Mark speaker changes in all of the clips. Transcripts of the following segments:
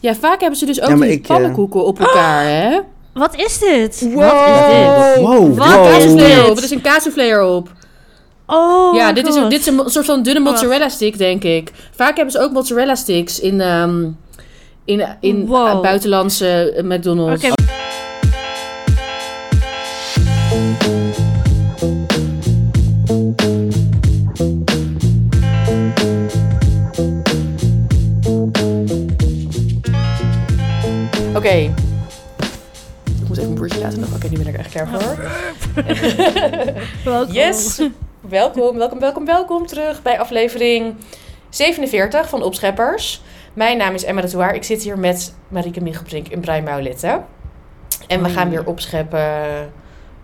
Speaker 1: Ja, vaak hebben ze dus ook
Speaker 2: Ja, maar
Speaker 1: die
Speaker 2: ik, eh, Ah!
Speaker 1: pannenkoeken op elkaar, hè?
Speaker 3: Wat is dit?
Speaker 2: Wow.
Speaker 3: Wat is dit?
Speaker 2: Wow,
Speaker 3: Wat
Speaker 2: wow.
Speaker 3: is
Speaker 1: Kaasvleer
Speaker 3: dit?
Speaker 1: op, er is een kaasvleer op.
Speaker 3: Oh
Speaker 1: ja,
Speaker 3: my
Speaker 1: dit is,
Speaker 3: God.
Speaker 1: een, dit is een mo- soort van dunne
Speaker 3: Wacht.
Speaker 1: mozzarella stick, denk ik. Vaak hebben ze ook mozzarella sticks in, ehm, in, in
Speaker 3: Wow.
Speaker 1: eh, buitenlandse eh, McDonald's.
Speaker 3: Oké.
Speaker 1: Oké. Ik moet even een broertje laten. Oké, nu ben ik er echt klaar
Speaker 3: Oh.
Speaker 1: voor.
Speaker 3: Welkom.
Speaker 1: Oh. Yes! Welkom, welkom, welkom, welkom terug bij aflevering 47 van Opscheppers. Mijn naam is Emma de Touaar. Ik zit hier met Marieke Michelbrink en Brian Maulette. En we
Speaker 3: Hoi.
Speaker 1: gaan weer opscheppen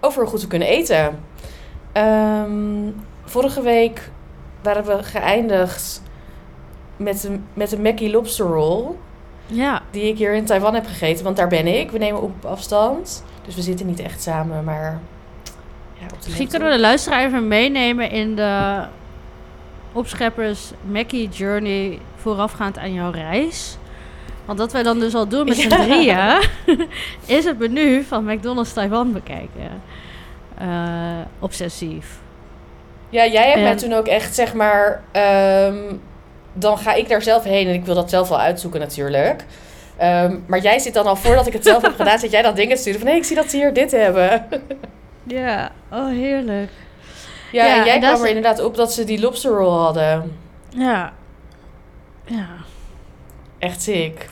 Speaker 1: over hoe goed we kunnen eten. Ehm, vorige week waren we geëindigd met een, met een Mackie Lobster Roll.
Speaker 3: Ja,
Speaker 1: Die ik hier in Taiwan heb gegeten, want daar ben ik. We nemen op op afstand. Dus we zitten niet echt samen, maar... Ja, op de
Speaker 3: misschien
Speaker 1: laptop.
Speaker 3: kunnen we de luisteraar even meenemen in de opscheppers Mackie Journey voorafgaand aan jouw reis. Want wat wij dan dus al doen met z'n
Speaker 1: Ja.
Speaker 3: drieën, is het menu van McDonald's Taiwan bekijken. Eh, obsessief.
Speaker 1: Ja, jij hebt
Speaker 3: En-
Speaker 1: mij toen ook echt, zeg maar... ehm, dan ga ik daar zelf heen en ik wil dat zelf wel uitzoeken natuurlijk. Ehm, maar jij zit dan al, voordat ik het zelf heb gedaan... zit jij dan dingen te sturen van... hé, ik zie dat ze hier dit hebben.
Speaker 3: Ja, oh heerlijk.
Speaker 1: Ja,
Speaker 3: Ja,
Speaker 1: en jij
Speaker 3: en dat
Speaker 1: kwam
Speaker 3: is-
Speaker 1: er inderdaad op dat ze die lobster roll hadden.
Speaker 3: Ja. Ja.
Speaker 1: Echt sick.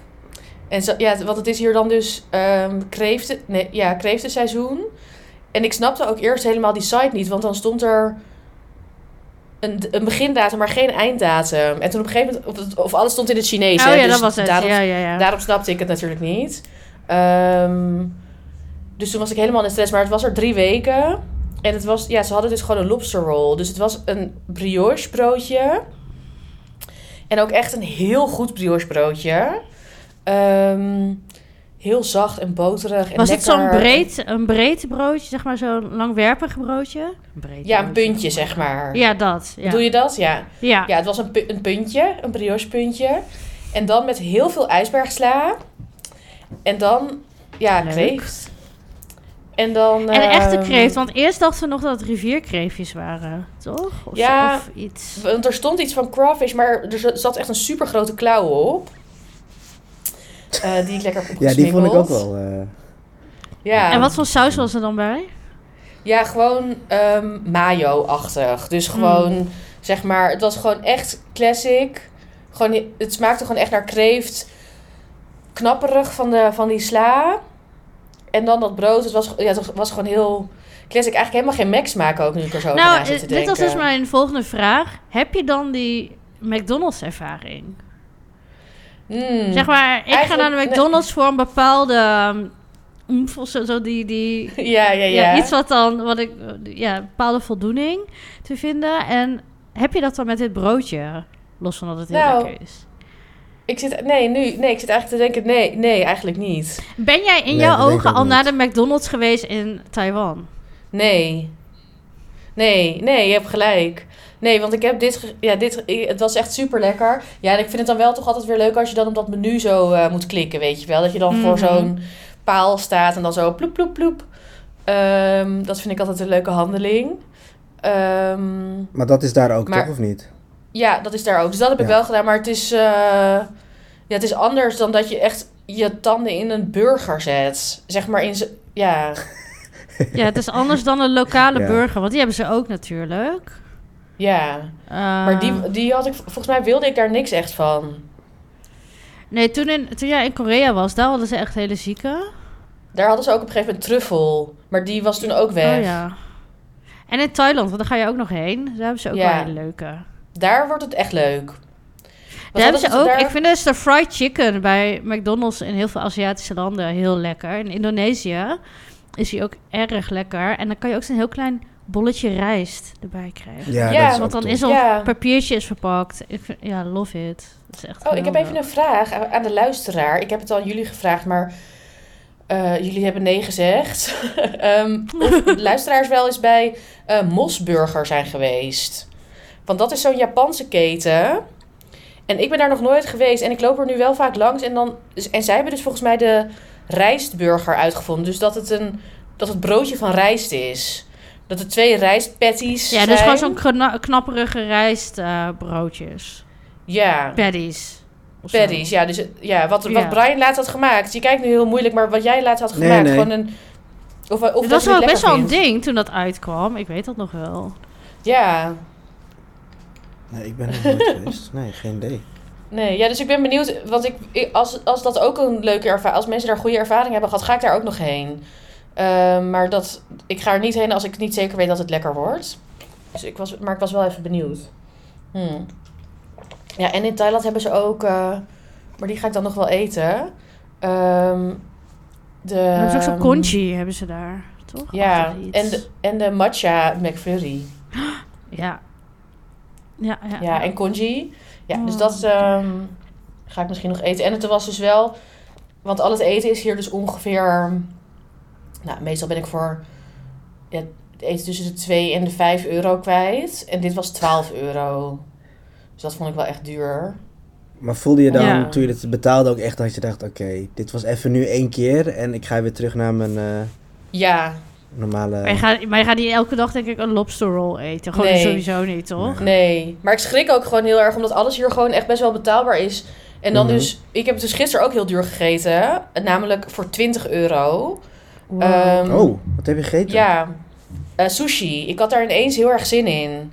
Speaker 1: En zo, ja, want het is hier dan dus ehm kreeften, nee, ja, kreeftenseizoen. En ik snapte ook eerst helemaal die site niet, want dan stond er een, een begindatum, maar geen einddatum. En toen op een gegeven moment, of, het- of alles stond in het Chinees.
Speaker 3: oh
Speaker 1: hè,
Speaker 3: ja,
Speaker 1: dus
Speaker 3: dat was het.
Speaker 1: Daarom,
Speaker 3: ja, ja, ja.
Speaker 1: daarom snapte ik het natuurlijk niet. Ehm, dus toen was ik helemaal in stress, maar het was er drie weken. En het was, ja, ze hadden dus gewoon een lobster roll. Dus het was een brioche broodje. En ook echt een heel goed brioche broodje. Ehm, heel zacht en boterig. En
Speaker 3: was het
Speaker 1: lekker.
Speaker 3: zo'n breed, een breed broodje, zeg maar zo'n langwerpig broodje? Breed
Speaker 1: Ja, een
Speaker 3: broodje.
Speaker 1: puntje, zeg maar.
Speaker 3: Ja, dat. Ja.
Speaker 1: Doe je dat? Ja.
Speaker 3: ja.
Speaker 1: Ja, het was een, pu- een puntje, een brioche puntje. En dan met heel veel ijsbergsla. En dan, ja,
Speaker 3: Leuk.
Speaker 1: kreeft. En dan...
Speaker 3: En een echte
Speaker 1: ehm,
Speaker 3: kreeft, want eerst dachten we nog dat het rivierkreeftjes waren, toch? Of,
Speaker 1: Ja.
Speaker 3: of iets.
Speaker 1: Want er stond iets van crawfish, maar er z- zat echt een super grote klauw op. Eh, die ik lekker heb
Speaker 2: Ja, die vond ik ook
Speaker 1: opgesmikkeld.
Speaker 2: wel. eh,
Speaker 1: Ja,
Speaker 3: En wat voor saus was er dan bij?
Speaker 1: ja gewoon ehm, mayo-achtig.
Speaker 3: Hmm.
Speaker 1: Dus gewoon, zeg maar, het was gewoon echt classic. Gewoon, het smaakte gewoon echt naar kreeft. Knapperig van, de, van die sla. En dan dat brood. Het was, ja, het was gewoon heel classic. Eigenlijk helemaal geen Mac smaak ook nu ik er zo over na
Speaker 3: nou,
Speaker 1: zit
Speaker 3: eh,
Speaker 1: te
Speaker 3: dit
Speaker 1: denken.
Speaker 3: was dus mijn volgende vraag. Heb je dan die McDonald's ervaring?
Speaker 1: Mm.
Speaker 3: Zeg maar, ik ga
Speaker 1: Hmm. Eigenlijk-
Speaker 3: naar de McDonald's voor een bepaalde... ehm, oemf of zo, zo die, die,
Speaker 1: Ja, ja, ja.
Speaker 3: ja, iets wat dan, wat ik, ja, een bepaalde voldoening te vinden. En heb je dat dan met dit broodje? Los van dat het heel
Speaker 1: Nou.
Speaker 3: lekker is.
Speaker 1: Ik zit, nee, nu, nee, ik zit eigenlijk te denken, nee, nee, eigenlijk niet.
Speaker 3: Ben jij in
Speaker 2: Nee, dat
Speaker 3: jouw
Speaker 2: denk ik
Speaker 3: ogen
Speaker 2: ook
Speaker 3: al
Speaker 2: niet.
Speaker 3: naar de McDonald's geweest in Taiwan?
Speaker 1: Nee. Nee, nee, je hebt gelijk. Nee, want ik heb dit, ge- ja, dit, ik- het was echt super lekker. Ja, en ik vind het dan wel toch altijd weer leuk als je dan op dat menu zo eh, moet klikken, weet je wel. Dat je dan voor
Speaker 3: Mhm.
Speaker 1: zo'n paal staat en dan zo ploep, ploep, ploep. Ehm, dat vind ik altijd een leuke handeling. Ehm,
Speaker 2: maar dat is daar ook,
Speaker 1: Maar-
Speaker 2: toch, of niet?
Speaker 1: ja, dat is daar ook. Dus dat heb ik
Speaker 2: Ja.
Speaker 1: wel gedaan, maar het is, eh, ja, het is anders dan dat je echt je tanden in een burger zet. Zeg maar in, z- ja...
Speaker 3: Ja, het is anders dan een lokale
Speaker 2: Ja.
Speaker 3: burger, want die hebben ze ook natuurlijk. Ehm,
Speaker 1: Ja, maar
Speaker 3: Ah.
Speaker 1: die, die had ik, volgens mij wilde ik daar niks echt van.
Speaker 3: Nee, toen, in, toen jij in Korea was, daar hadden ze echt hele zieke.
Speaker 1: Daar hadden ze ook op een gegeven moment truffel, maar die was toen ook weg.
Speaker 3: Oh ja. En in Thailand, want daar ga je ook nog heen. Daar hebben ze ook
Speaker 1: Ja.
Speaker 3: wel hele leuke.
Speaker 1: Daar wordt het echt leuk. Wat
Speaker 3: Daar hebben
Speaker 1: hadden
Speaker 3: ze
Speaker 1: toen
Speaker 3: ook,
Speaker 1: daar-
Speaker 3: ik vind dus de fried chicken bij McDonald's in heel veel Aziatische landen heel lekker. In Indonesië is die ook erg lekker. En dan kan je ook zo'n heel klein bolletje rijst erbij krijgen.
Speaker 2: Ja,
Speaker 1: Ja,
Speaker 2: dat is
Speaker 3: want
Speaker 2: ook
Speaker 3: dan
Speaker 2: top.
Speaker 3: is al
Speaker 1: Ja.
Speaker 3: papiertje is verpakt. Ik vind- ja, love it. Dat is echt
Speaker 1: Oh, ik heb
Speaker 3: geweldig.
Speaker 1: even een vraag aan aan de luisteraar. Ik heb het al aan jullie gevraagd, maar eh, jullie hebben nee gezegd. Ehm, of de luisteraars wel eens bij eh, Mosburger zijn geweest. Want dat is zo'n Japanse keten. En ik ben daar nog nooit geweest. En ik loop er nu wel vaak langs. En, dan, en zij hebben dus volgens mij de rijstburger uitgevonden. Dus dat het, een, dat het broodje van rijst is. Dat er twee rijstpatties
Speaker 3: Ja,
Speaker 1: zijn.
Speaker 3: dus gewoon zo'n kna- knapperige eh, rijstbroodjes.
Speaker 1: Ja,
Speaker 3: Paddies. of zo.
Speaker 1: patties. Ja, dus, ja, wat,
Speaker 3: Ja.
Speaker 1: wat Brian laatst had gemaakt. Je kijkt nu heel moeilijk, maar wat jij laatst had
Speaker 2: Nee,
Speaker 1: gemaakt.
Speaker 2: nee.
Speaker 1: Gewoon een... Of, of
Speaker 3: Dit
Speaker 1: dat
Speaker 3: was
Speaker 1: je het
Speaker 3: wel
Speaker 1: lekker
Speaker 3: best wel een
Speaker 1: vindt.
Speaker 3: ding toen dat uitkwam. Ik weet dat nog wel.
Speaker 1: Ja,
Speaker 2: Nee, ik ben er nooit geweest. Nee, geen idee.
Speaker 1: Nee, ja, dus ik ben benieuwd, want ik, ik- als, als dat ook een leuke ervaring, als mensen daar goede ervaring hebben gehad, ga ik daar ook nog heen. Ehm, maar dat, ik ga er niet heen als ik niet zeker weet dat het lekker wordt. Dus ik was, maar ik was wel even benieuwd. Hmm. Ja, en in Thailand hebben ze ook, eh, maar die ga ik dan nog wel eten. Ehm de,
Speaker 3: Er is ook zo'n congee hebben ze daar, toch?
Speaker 1: Ehm, Ja,
Speaker 3: Achtig iets.
Speaker 1: en de, en de matcha McFlurry.
Speaker 3: Ja. Ja, ja.
Speaker 1: Ja, en congee. Ja, dus
Speaker 3: Oh,
Speaker 1: dat ehm, ga ik misschien nog eten. En het was dus wel... Want al het eten is hier dus ongeveer... Nou, meestal ben ik voor... Ja, het eten tussen de 2 en de 5 euro kwijt. En dit was 12 euro. Dus dat vond ik wel echt duur.
Speaker 2: Maar voelde je dan,
Speaker 3: Ja.
Speaker 2: toen je dit betaalde, ook echt dat je dacht... Oké, dit was even nu één keer en ik ga weer terug naar mijn eh,
Speaker 1: Ja,
Speaker 2: normale...
Speaker 3: Maar je, gaat, maar je gaat niet elke dag denk ik een lobster roll eten. Gewoon
Speaker 1: Nee.
Speaker 3: sowieso niet, toch?
Speaker 1: nee. Maar ik schrik ook gewoon heel erg... omdat alles hier gewoon echt best wel betaalbaar is. En dan
Speaker 2: Mhm.
Speaker 1: dus... Ik heb het dus gisteren ook heel duur gegeten. Namelijk voor 20 euro.
Speaker 3: Wow.
Speaker 1: Ehm,
Speaker 2: Oh, wat heb je gegeten?
Speaker 1: Ja, Eh, sushi. Ik had daar ineens heel erg zin in.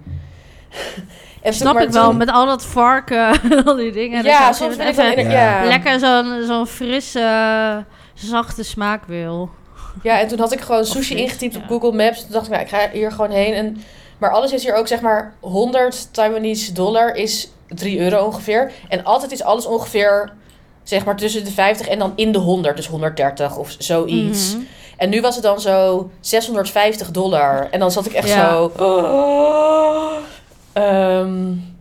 Speaker 1: en
Speaker 3: Snap ik wel, met al dat varken, al die dingen.
Speaker 1: ja,
Speaker 3: dat je
Speaker 1: soms
Speaker 3: het
Speaker 1: ben ik dan
Speaker 3: even
Speaker 1: in-
Speaker 2: Ja.
Speaker 1: ja.
Speaker 3: lekker zo'n zo'n frisse, zachte smaak wil.
Speaker 1: Ja, en toen had ik gewoon sushi
Speaker 3: niet,
Speaker 1: ingetypt
Speaker 3: ja.
Speaker 1: op Google Maps. Toen dacht ik, nou, ik ga hier gewoon heen. En, maar alles is hier ook, zeg maar, 100 Taiwanese dollar is 3 euro ongeveer. En altijd is alles ongeveer, zeg maar, tussen de 50 en dan in de 100. Dus 130 of zoiets.
Speaker 3: Mhm.
Speaker 1: En nu was het dan zo 650 dollar. En dan zat ik echt
Speaker 3: Ja.
Speaker 1: zo... oh, Ehm,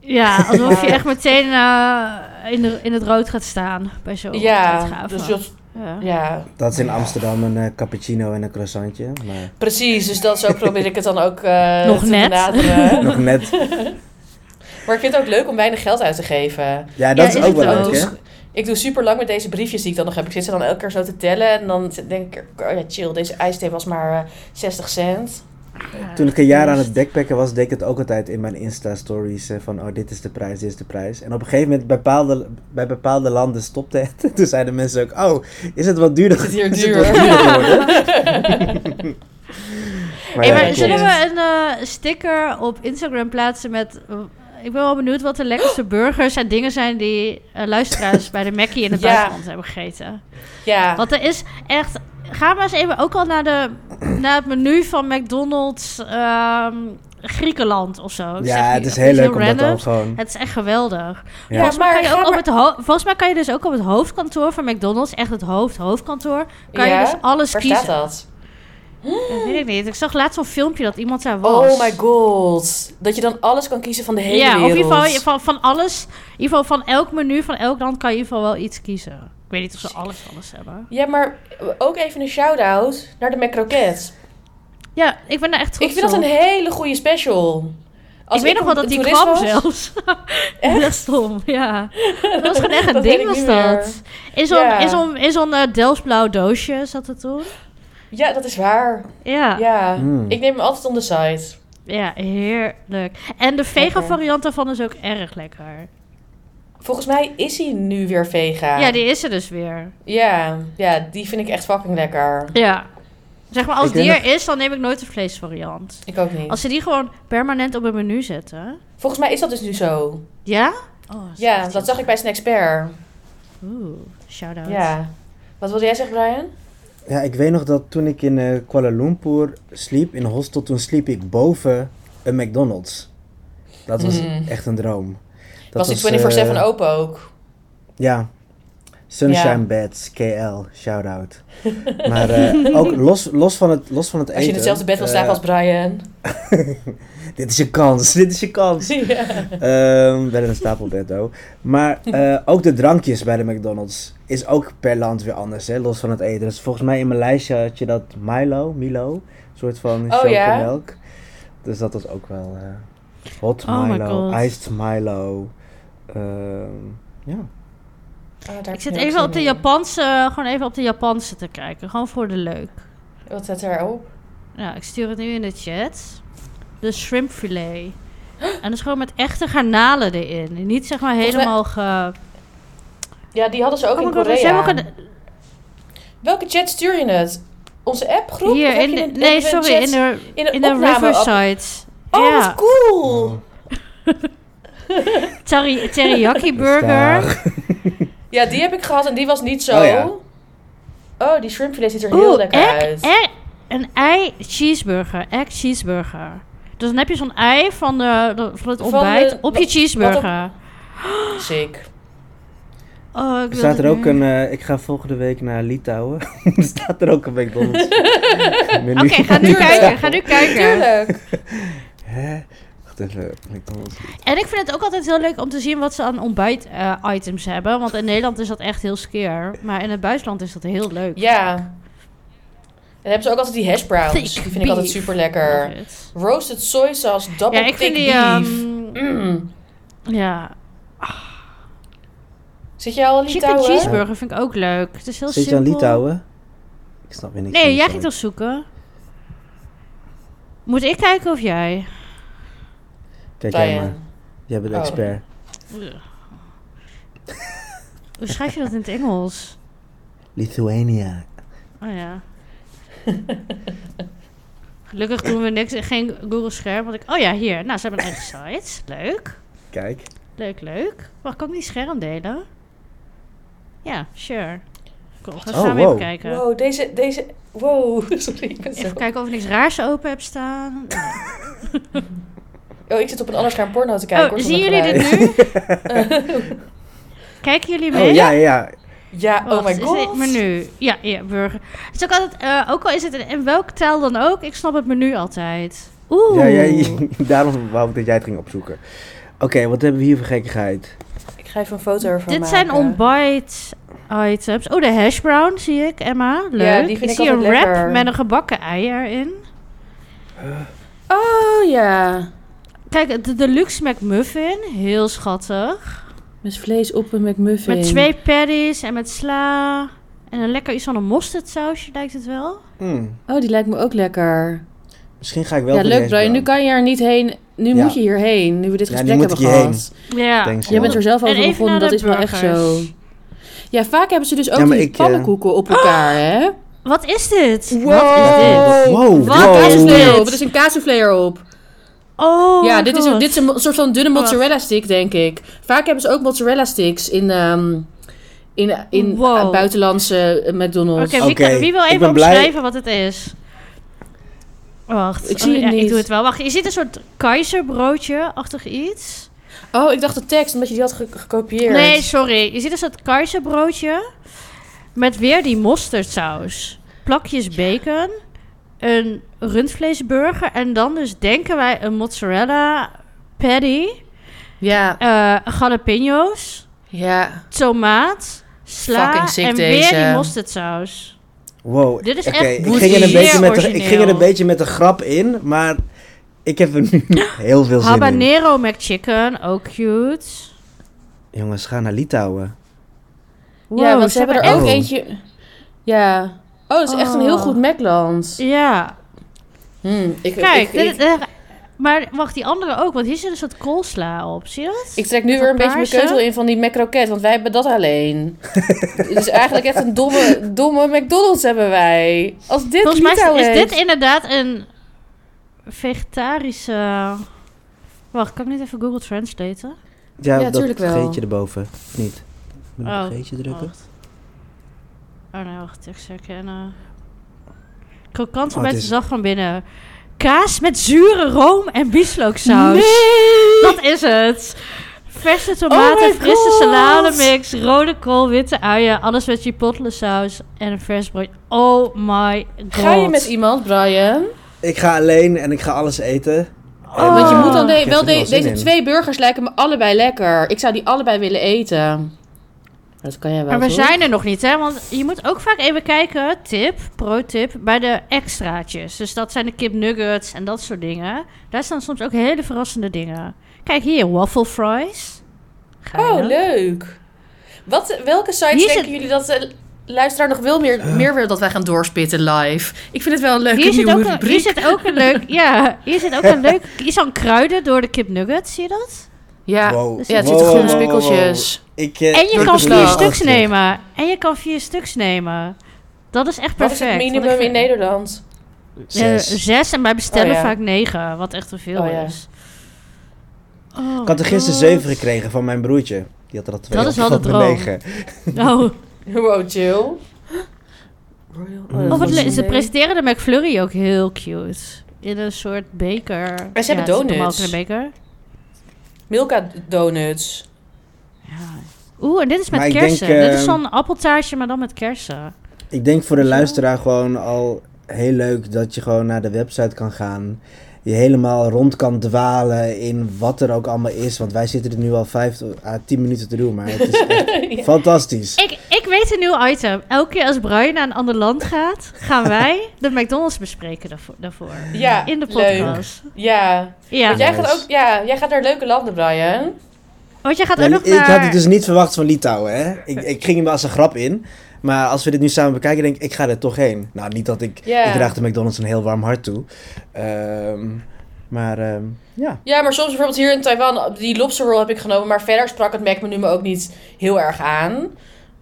Speaker 3: Ja, alsof je
Speaker 1: Ja.
Speaker 3: echt meteen eh, in, de, in het rood gaat staan bij zo'n
Speaker 1: ja,
Speaker 3: uitgave.
Speaker 1: dus dat,
Speaker 3: ja.
Speaker 1: ja,
Speaker 2: Dat is in Amsterdam een eh, cappuccino en een croissantje. Maar
Speaker 1: Precies, dus dat, zo probeer ik het dan ook eh,
Speaker 3: Nog
Speaker 1: te
Speaker 3: net.
Speaker 1: benaderen.
Speaker 2: nog net.
Speaker 1: Maar ik vind het ook leuk om weinig geld uit te geven.
Speaker 2: Ja, dat
Speaker 3: Ja,
Speaker 2: is
Speaker 3: is
Speaker 2: ook wel leuk,
Speaker 3: het ook.
Speaker 2: hè?
Speaker 1: Ik doe super lang met deze briefjes die ik dan nog heb. Ik zit ze dan elke keer zo te tellen en dan denk ik, oh ja, chill, deze ijsthee was maar eh, 60 cent.
Speaker 2: Eh, Toen ik een jaar aan het backpacken was, deed ik het ook altijd in mijn Insta-stories. eh, van, oh, dit is de prijs, dit is de prijs. En op een gegeven moment, bepaalde, bij bepaalde landen stopte het. Toen zeiden mensen ook, oh, is het wat duurder?
Speaker 1: Is het hier
Speaker 2: is
Speaker 1: duur?
Speaker 2: wat duurder geworden? maar
Speaker 1: Hey,
Speaker 2: ja,
Speaker 3: maar
Speaker 2: dat
Speaker 3: zullen
Speaker 2: klopt.
Speaker 3: we een eh, sticker op Instagram plaatsen met... eh, ik ben wel benieuwd wat de
Speaker 2: Oh.
Speaker 3: lekkerste burgers en dingen zijn die eh, luisteraars bij de Mackie in het
Speaker 1: Ja.
Speaker 3: buitenland hebben gegeten.
Speaker 1: Ja,
Speaker 3: Want er is echt... Ga maar eens even ook al naar, de, naar het menu van McDonald's ehm, Griekenland of zo. Ik zeg
Speaker 2: Ja,
Speaker 3: nu
Speaker 2: het is
Speaker 3: echt
Speaker 2: heel
Speaker 3: iets
Speaker 2: leuk om dat
Speaker 3: random.
Speaker 2: dan gewoon...
Speaker 3: Het is echt geweldig.
Speaker 2: Ja.
Speaker 3: Volgens, mij
Speaker 1: Ja,
Speaker 3: kan je
Speaker 1: maar
Speaker 3: ook
Speaker 1: ga
Speaker 3: op het ho- volgens mij kan je dus ook op het hoofdkantoor van McDonald's, echt het hoofd, hoofdkantoor, kan
Speaker 1: Ja?
Speaker 3: je dus alles
Speaker 1: waar
Speaker 3: kiezen.
Speaker 1: staat dat?
Speaker 3: Dat weet ik niet. Ik zag laatst zo'n filmpje dat iemand daar was.
Speaker 1: Oh my god. Dat je dan alles kan kiezen van de hele
Speaker 3: ja,
Speaker 1: wereld.
Speaker 3: of in ieder geval van, van alles. In ieder geval van elk menu van elk land kan je in ieder geval wel iets kiezen. Ik weet niet of ze alles alles hebben.
Speaker 1: Ja, maar ook even een shout-out naar de McCroquette.
Speaker 3: Ja, ik ben daar echt trots
Speaker 1: Ik vind dat
Speaker 3: op.
Speaker 1: een hele goede special.
Speaker 3: ik weet nog wel dat die
Speaker 1: toerist
Speaker 3: kwam
Speaker 1: was-
Speaker 3: zelfs. Dat is stom, ja. Dat was gewoon echt een
Speaker 1: Dat weet
Speaker 3: ding
Speaker 1: ik
Speaker 3: was
Speaker 1: niet
Speaker 3: dat. In zo'n
Speaker 1: Ja.
Speaker 3: in zo'n in zo'n eh, Delfts-blauw doosje zat het toen.
Speaker 1: Ja, dat is waar.
Speaker 3: Ja.
Speaker 1: Ja,
Speaker 2: Mm.
Speaker 1: ik neem hem altijd on the side.
Speaker 3: Ja, heerlijk. En de vegan
Speaker 1: Lekker.
Speaker 3: variant daarvan is ook erg lekker.
Speaker 1: Volgens mij is hij nu weer
Speaker 3: Ja.
Speaker 1: vegan.
Speaker 3: die is er dus weer.
Speaker 1: ja, ja, die vind ik echt fucking lekker.
Speaker 3: Ja. Zeg maar, als
Speaker 2: Ik
Speaker 3: die
Speaker 2: denk
Speaker 3: er is, dan neem ik nooit de vleesvariant.
Speaker 1: Ik ook niet.
Speaker 3: Als ze die gewoon permanent op het menu zetten.
Speaker 1: Volgens mij is dat dus nu zo.
Speaker 3: Ja? Oh, is
Speaker 1: Ja,
Speaker 3: echt
Speaker 1: dat zag ik bij Snackspert.
Speaker 3: Oeh, shout-out.
Speaker 1: Ja. Wat wilde jij zeggen, Brian?
Speaker 2: Ja, ik weet nog dat toen ik in eh, Kuala Lumpur sliep, in een hostel, toen sliep ik boven een McDonald's. Dat was
Speaker 1: Mm.
Speaker 2: echt een droom. Dat
Speaker 1: was die 24-7
Speaker 2: eh,
Speaker 1: open ook?
Speaker 2: Ja. Sunshine
Speaker 1: Ja.
Speaker 2: Beds, KL, shout-out. Maar eh, ook los, los, van het, los van het eten...
Speaker 1: Als je in hetzelfde bed wil slapen
Speaker 2: eh,
Speaker 1: als Brian.
Speaker 2: Dit is je kans, dit is je kans.
Speaker 1: ja.
Speaker 2: Ehm wel in een stapelbed ook. Maar eh, ook de drankjes bij de McDonald's is ook per land weer anders, hè, los van het eten. Dus volgens mij in mijn lijstje had je dat Milo, Milo, een soort van
Speaker 1: Oh, ja?
Speaker 2: chocomelk. Dus dat was ook wel eh, hot
Speaker 3: Oh my
Speaker 2: Milo,
Speaker 3: God.
Speaker 2: iced Milo, eh, Ehm, ja.
Speaker 1: Oh, daar
Speaker 3: Ik zit
Speaker 1: heb
Speaker 3: even
Speaker 1: zin
Speaker 3: op de
Speaker 1: in.
Speaker 3: Japanse, gewoon even op de Japanse te kijken. Gewoon voor de leuk.
Speaker 1: Wat zet erop?
Speaker 3: Nou, ik stuur het nu in de chat. De shrimpfilet. En dat is gewoon met echte garnalen erin. Niet zeg maar
Speaker 1: Volgens mij-
Speaker 3: helemaal ge...
Speaker 1: Ja, die hadden ze ook
Speaker 3: Oh
Speaker 1: in
Speaker 3: my god, er zijn
Speaker 1: Korea.
Speaker 3: ook een-
Speaker 1: Welke chat stuur je het? Onze appgroep? Of
Speaker 3: Hier,
Speaker 1: heb
Speaker 3: in
Speaker 1: je
Speaker 3: de,
Speaker 1: een-
Speaker 3: nee,
Speaker 1: hebben we een
Speaker 3: sorry, in
Speaker 1: chat-
Speaker 3: de,
Speaker 1: in een
Speaker 3: in de
Speaker 1: opname-
Speaker 3: Riverside.
Speaker 1: Oh,
Speaker 3: ja,
Speaker 1: wat cool!
Speaker 3: Teri- teriyaki burger.
Speaker 2: Rustig.
Speaker 1: Ja, die heb ik gehad en die was niet zo.
Speaker 2: Oh, ja.
Speaker 1: Oh, die shrimpfilet ziet er heel
Speaker 3: Oeh,
Speaker 1: lekker
Speaker 3: egg-
Speaker 1: uit.
Speaker 3: egg- een ei cheeseburger. Egg cheeseburger. Dus dan heb je zo'n ei van, de, de- van het
Speaker 1: Van
Speaker 3: ontbijt
Speaker 1: de-
Speaker 3: op
Speaker 1: wat-
Speaker 3: je cheeseburger.
Speaker 1: Sick.
Speaker 3: Oh, ik wil
Speaker 2: Staat
Speaker 3: dit
Speaker 2: er ook
Speaker 3: nu.
Speaker 2: een... eh, ik ga volgende week naar Litouwen. Staat er ook een McDonald's.
Speaker 3: Oké, ga nu
Speaker 1: Tuurlijk.
Speaker 3: kijken, ga nu kijken.
Speaker 1: Tuurlijk.
Speaker 2: Hè? Wacht even, McDonald's.
Speaker 3: En ik vind het ook altijd heel leuk om te zien wat ze aan ontbijt-items hebben. Want in Nederland is dat echt heel skeer. Maar in het buitenland is dat heel leuk.
Speaker 1: Ja. En dan hebben ze ook altijd die hash browns.
Speaker 3: Thick
Speaker 1: Die vind ik altijd
Speaker 3: beef.
Speaker 1: super lekker.
Speaker 3: Love it.
Speaker 1: Roasted soy sauce, double
Speaker 3: Ja,
Speaker 1: thick
Speaker 3: ik vind die...
Speaker 1: beef.
Speaker 3: ehm,
Speaker 1: Mm.
Speaker 3: ja,
Speaker 1: Zit jij al in
Speaker 3: chicken
Speaker 1: Litouwen?
Speaker 3: cheeseburger vind ik ook leuk. Het is heel
Speaker 2: Zit je aan
Speaker 3: simpel.
Speaker 2: Litouwen? Ik snap weer niks
Speaker 3: Nee,
Speaker 2: van
Speaker 3: jij
Speaker 2: Litouwen.
Speaker 3: ging toch zoeken? Moet ik kijken of jij?
Speaker 2: Kijk jij
Speaker 1: Diane.
Speaker 2: maar. Jij bent de
Speaker 1: Oh.
Speaker 2: expert.
Speaker 3: Hoe schrijf je dat in het Engels?
Speaker 2: Lithuania.
Speaker 3: Oh ja. Gelukkig doen we niks, geen Google scherm. Want ik, oh ja, hier. Nou, ze hebben een eigen site. Leuk.
Speaker 2: Kijk.
Speaker 3: Leuk, leuk. Mag ik ook niet scherm delen? Ja, sure. Kom, gaan we
Speaker 2: Oh,
Speaker 3: samen
Speaker 2: wow.
Speaker 3: even kijken.
Speaker 1: Wow, deze, deze... Wow, sorry. Ik ben zo...
Speaker 3: Even kijken of ik niks raars open heb staan.
Speaker 1: Oh, ik zit op een ander scherm porno te kijken.
Speaker 3: oh,
Speaker 1: hoor,
Speaker 3: zien
Speaker 1: zonder
Speaker 3: jullie dit
Speaker 1: geluid.
Speaker 3: nu? Kijken jullie mee?
Speaker 2: Oh, ja, ja, ja.
Speaker 1: Ja, oh
Speaker 3: Wacht,
Speaker 1: my god.
Speaker 3: Is dit menu? Ja, ja, burger. Het is ook altijd, eh, ook al is het in, in welke taal dan ook, ik snap het menu altijd. Oeh.
Speaker 2: ja, ja, ja. Daarom wou ik dat jij het ging opzoeken. Oké, wat hebben we hier voor gekkigheid?
Speaker 1: Ik ga even een foto ervan
Speaker 3: Dit
Speaker 1: maken.
Speaker 3: zijn ontbijt items. Oh, de hash brown zie ik, Emma. Leuk.
Speaker 1: Ja, die vind ik
Speaker 3: zie een
Speaker 1: altijd
Speaker 3: wrap
Speaker 1: lekker.
Speaker 3: met een gebakken ei erin.
Speaker 1: Oh ja.
Speaker 3: Kijk, de deluxe McMuffin. Heel schattig.
Speaker 1: Met vlees op een McMuffin.
Speaker 3: Met twee patties en met sla. En een lekker iets van een mosterdsausje lijkt het wel.
Speaker 2: Hmm,
Speaker 1: Oh, die lijkt me ook lekker.
Speaker 2: Misschien ga ik wel
Speaker 1: ja,
Speaker 2: voor
Speaker 1: leuk
Speaker 2: deze
Speaker 1: Brian.
Speaker 2: dan.
Speaker 1: Nu kan je er niet heen. Nu
Speaker 2: Ja.
Speaker 1: moet je hierheen. Nu we dit
Speaker 2: Ja, nu
Speaker 1: gesprek
Speaker 2: moet
Speaker 1: hebben
Speaker 2: ik hierheen.
Speaker 1: gehad.
Speaker 3: Ja.
Speaker 2: Thanks,
Speaker 1: Jij bent er zelf
Speaker 3: En
Speaker 1: over
Speaker 3: even
Speaker 1: begonnen.
Speaker 3: naar
Speaker 1: Dat
Speaker 3: de
Speaker 1: is wel echt zo.
Speaker 3: burgers.
Speaker 1: Ja, vaak hebben ze dus ook
Speaker 2: Ja, maar
Speaker 1: die
Speaker 2: ik, eh,
Speaker 1: pannenkoeken op elkaar, hè?
Speaker 3: Wat is dit?
Speaker 1: Wow.
Speaker 3: Wat is dit?
Speaker 2: Wow,
Speaker 3: Wat
Speaker 2: wow.
Speaker 3: is
Speaker 1: Kaasvleer
Speaker 3: dit?
Speaker 1: op. Er is een kaasvleer op.
Speaker 3: Oh
Speaker 1: ja,
Speaker 3: my
Speaker 1: dit is,
Speaker 3: God.
Speaker 1: dit is een mo- soort van dunne
Speaker 3: Wacht.
Speaker 1: mozzarella stick, denk ik. Vaak hebben ze ook mozzarella sticks in, ehm, in, in
Speaker 3: Oh, Wow.
Speaker 1: eh, buitenlandse eh, McDonald's.
Speaker 3: Oké, wie,
Speaker 2: Oké,
Speaker 3: kan- wie wil
Speaker 2: ik
Speaker 3: even
Speaker 2: ben blij.
Speaker 3: omschrijven wat het is? Wacht,
Speaker 1: Ik zie
Speaker 3: oh,
Speaker 1: het
Speaker 3: ja,
Speaker 1: niet.
Speaker 3: Ik doe het wel. Wacht, je ziet een soort keizerbroodje-achtig iets.
Speaker 1: Oh, ik dacht de tekst, omdat je die had ge- gekopieerd.
Speaker 3: Nee, sorry. Je ziet een soort keizerbroodje met weer die mosterdsaus, plakjes bacon, een rundvleesburger en dan dus denken wij een mozzarella patty,
Speaker 1: Ja,
Speaker 3: eh jalapenos,
Speaker 1: ja.
Speaker 3: tomaat, sla
Speaker 1: Fucking sick
Speaker 3: en
Speaker 1: deze.
Speaker 3: weer die mosterdsaus.
Speaker 2: Wow.
Speaker 3: Dit is
Speaker 2: Oké,
Speaker 3: echt
Speaker 2: ik ging, er een
Speaker 3: zeer
Speaker 2: beetje met de, ik
Speaker 3: origineel.
Speaker 2: ging er een beetje met de grap in, maar ik heb er nu heel veel zin in.
Speaker 3: Habanero McChicken, ook cute.
Speaker 2: Jongens, ga naar Litouwen.
Speaker 1: ja, want ze hebben er ook
Speaker 2: echt-
Speaker 1: eentje... Ja. Oh, dat is echt een heel
Speaker 3: Oh.
Speaker 1: goed Macland.
Speaker 3: Ja,
Speaker 1: Hmm, ik,
Speaker 3: kijk.
Speaker 1: ik,
Speaker 3: dit-
Speaker 1: ik,
Speaker 3: eh, maar wacht, die andere ook, want hier zit een soort koolsla op. Zie je dat?
Speaker 1: ik trek nu weer een beetje mijn
Speaker 3: paarse.
Speaker 1: keutel in van die McCroket, want wij hebben dat alleen. Het is eigenlijk echt een domme, domme McDonald's hebben wij. Als dit nou
Speaker 3: Volgens mij
Speaker 1: Litouw
Speaker 3: is, is
Speaker 1: heet.
Speaker 3: dit inderdaad een vegetarische... Wacht, kan ik niet even Google Translaten?
Speaker 2: Ja,
Speaker 1: Ja,
Speaker 2: dat
Speaker 1: tuurlijk wel.
Speaker 2: geetje erboven. Of niet? Moet ik
Speaker 3: Oh,
Speaker 2: een geetje drukken?
Speaker 3: Wacht. Oh nee, wacht, tekst herkennen. eh, Krokant
Speaker 2: Oh,
Speaker 3: met
Speaker 2: het
Speaker 3: de
Speaker 2: is-
Speaker 3: zag van binnen. Kaas met zure room en bieslooksaus. Dat is het. Verse tomaten,
Speaker 1: Oh my
Speaker 3: frisse
Speaker 1: God.
Speaker 3: salademix, rode kool, witte uien, alles met chipotle saus en een vers brood. Oh my god.
Speaker 1: Ga je met iemand, Brian?
Speaker 2: Ik ga alleen en ik ga alles eten. eh,
Speaker 3: Oh.
Speaker 1: Want je moet dan de-
Speaker 2: Ik heb
Speaker 1: wel
Speaker 2: er wel
Speaker 1: de-
Speaker 2: zin
Speaker 1: deze
Speaker 2: in.
Speaker 1: twee burgers lijken me allebei lekker. Ik zou die allebei willen eten. Dat kan jij wel.
Speaker 3: Maar we
Speaker 1: toch?
Speaker 3: zijn er nog niet, hè? Want je moet ook vaak even kijken, tip, pro-tip, bij de extraatjes. Dus dat zijn de kipnuggets en dat soort dingen. Daar staan soms ook hele verrassende dingen. Kijk hier, waffle fries. Geinig.
Speaker 1: Oh, leuk. Wat, welke sites
Speaker 3: Hier is
Speaker 1: denken
Speaker 3: het-
Speaker 1: jullie dat de luisteraar nog wel meer,
Speaker 2: Eh.
Speaker 1: meer wil dat wij gaan doorspitten live? Ik vind het wel een leuke
Speaker 3: Hier zit,
Speaker 1: nieuwe
Speaker 3: ook een, hier
Speaker 1: rubriek.
Speaker 3: zit ook een leuk... Ja, hier zit ook een leuk... Hier staan kruiden door de kip nuggets, zie je dat?
Speaker 1: Ja,
Speaker 2: Wow.
Speaker 1: ja, het zit
Speaker 2: Wow,
Speaker 1: groene
Speaker 2: wow, wow, wow.
Speaker 1: spikkeltjes.
Speaker 2: Ik, eh,
Speaker 3: En je
Speaker 2: ik
Speaker 3: kan
Speaker 2: bedoel
Speaker 3: vier
Speaker 1: beslag.
Speaker 2: het
Speaker 3: stuks
Speaker 2: altijd.
Speaker 3: nemen. En je kan vier stuks nemen. Dat is echt
Speaker 1: Wat is
Speaker 3: perfect.
Speaker 1: het
Speaker 3: want
Speaker 1: minimum
Speaker 3: ik-
Speaker 1: in Nederland?
Speaker 3: Eh,
Speaker 2: Zes.
Speaker 3: zes en wij bestellen
Speaker 1: Oh, ja.
Speaker 3: vaak negen, wat echt te veel
Speaker 1: Oh, ja.
Speaker 3: is. Oh,
Speaker 2: Ik had er gisteren
Speaker 3: God.
Speaker 2: zeven gekregen van mijn broertje. Die had er al twee.
Speaker 3: Dat is
Speaker 2: Ik
Speaker 3: wel
Speaker 2: had
Speaker 3: de
Speaker 2: er
Speaker 3: droom.
Speaker 2: negen.
Speaker 3: Oh,
Speaker 1: Wow, chill.
Speaker 2: Oh,
Speaker 3: oh, wat
Speaker 2: is
Speaker 3: le- ze presenteren de McFlurry ook heel cute. In een soort beker.
Speaker 1: En ze hebben
Speaker 3: het is normaal
Speaker 1: donuts.
Speaker 3: ook in een beker.
Speaker 1: Milka donuts.
Speaker 3: Ja. Oeh, en dit is met
Speaker 2: Maar ik
Speaker 3: kersen.
Speaker 2: denk,
Speaker 3: Dit is
Speaker 2: eh,
Speaker 3: zo'n appeltaartje, maar dan met kersen.
Speaker 2: Ik denk voor de
Speaker 1: Zo.
Speaker 2: luisteraar gewoon al heel leuk dat je gewoon naar de website kan gaan. Je helemaal rond kan dwalen in wat er ook allemaal is. Want wij zitten er nu al vijf tot- à tien minuten te doen. Maar het is echt fantastisch.
Speaker 3: Ik, ik weet een nieuw item. Elke keer als Brian naar een ander land gaat, gaan wij de McDonald's bespreken daarvoor. daarvoor.
Speaker 1: Ja,
Speaker 3: In de
Speaker 1: leuk.
Speaker 3: podcast.
Speaker 1: Ja.
Speaker 3: Ja,
Speaker 1: Want jij
Speaker 2: Nice.
Speaker 1: gaat ook, ja, jij gaat naar leuke landen, Brian.
Speaker 3: want jij gaat
Speaker 2: Nou,
Speaker 3: ook nog
Speaker 2: ik
Speaker 3: naar...
Speaker 2: had het dus niet verwacht van Litouwen. Hè? Ik, ik ging hem als een grap in. Maar als we dit nu samen bekijken, denk ik, ik ga er toch heen. Nou, niet dat ik...
Speaker 1: Ja.
Speaker 2: Ik draag de McDonald's een heel warm hart toe. Ehm, maar ehm, ja.
Speaker 1: Ja, maar soms bijvoorbeeld hier in Taiwan, die lobster roll heb ik genomen, maar verder sprak het Mac-menu me ook niet heel erg aan.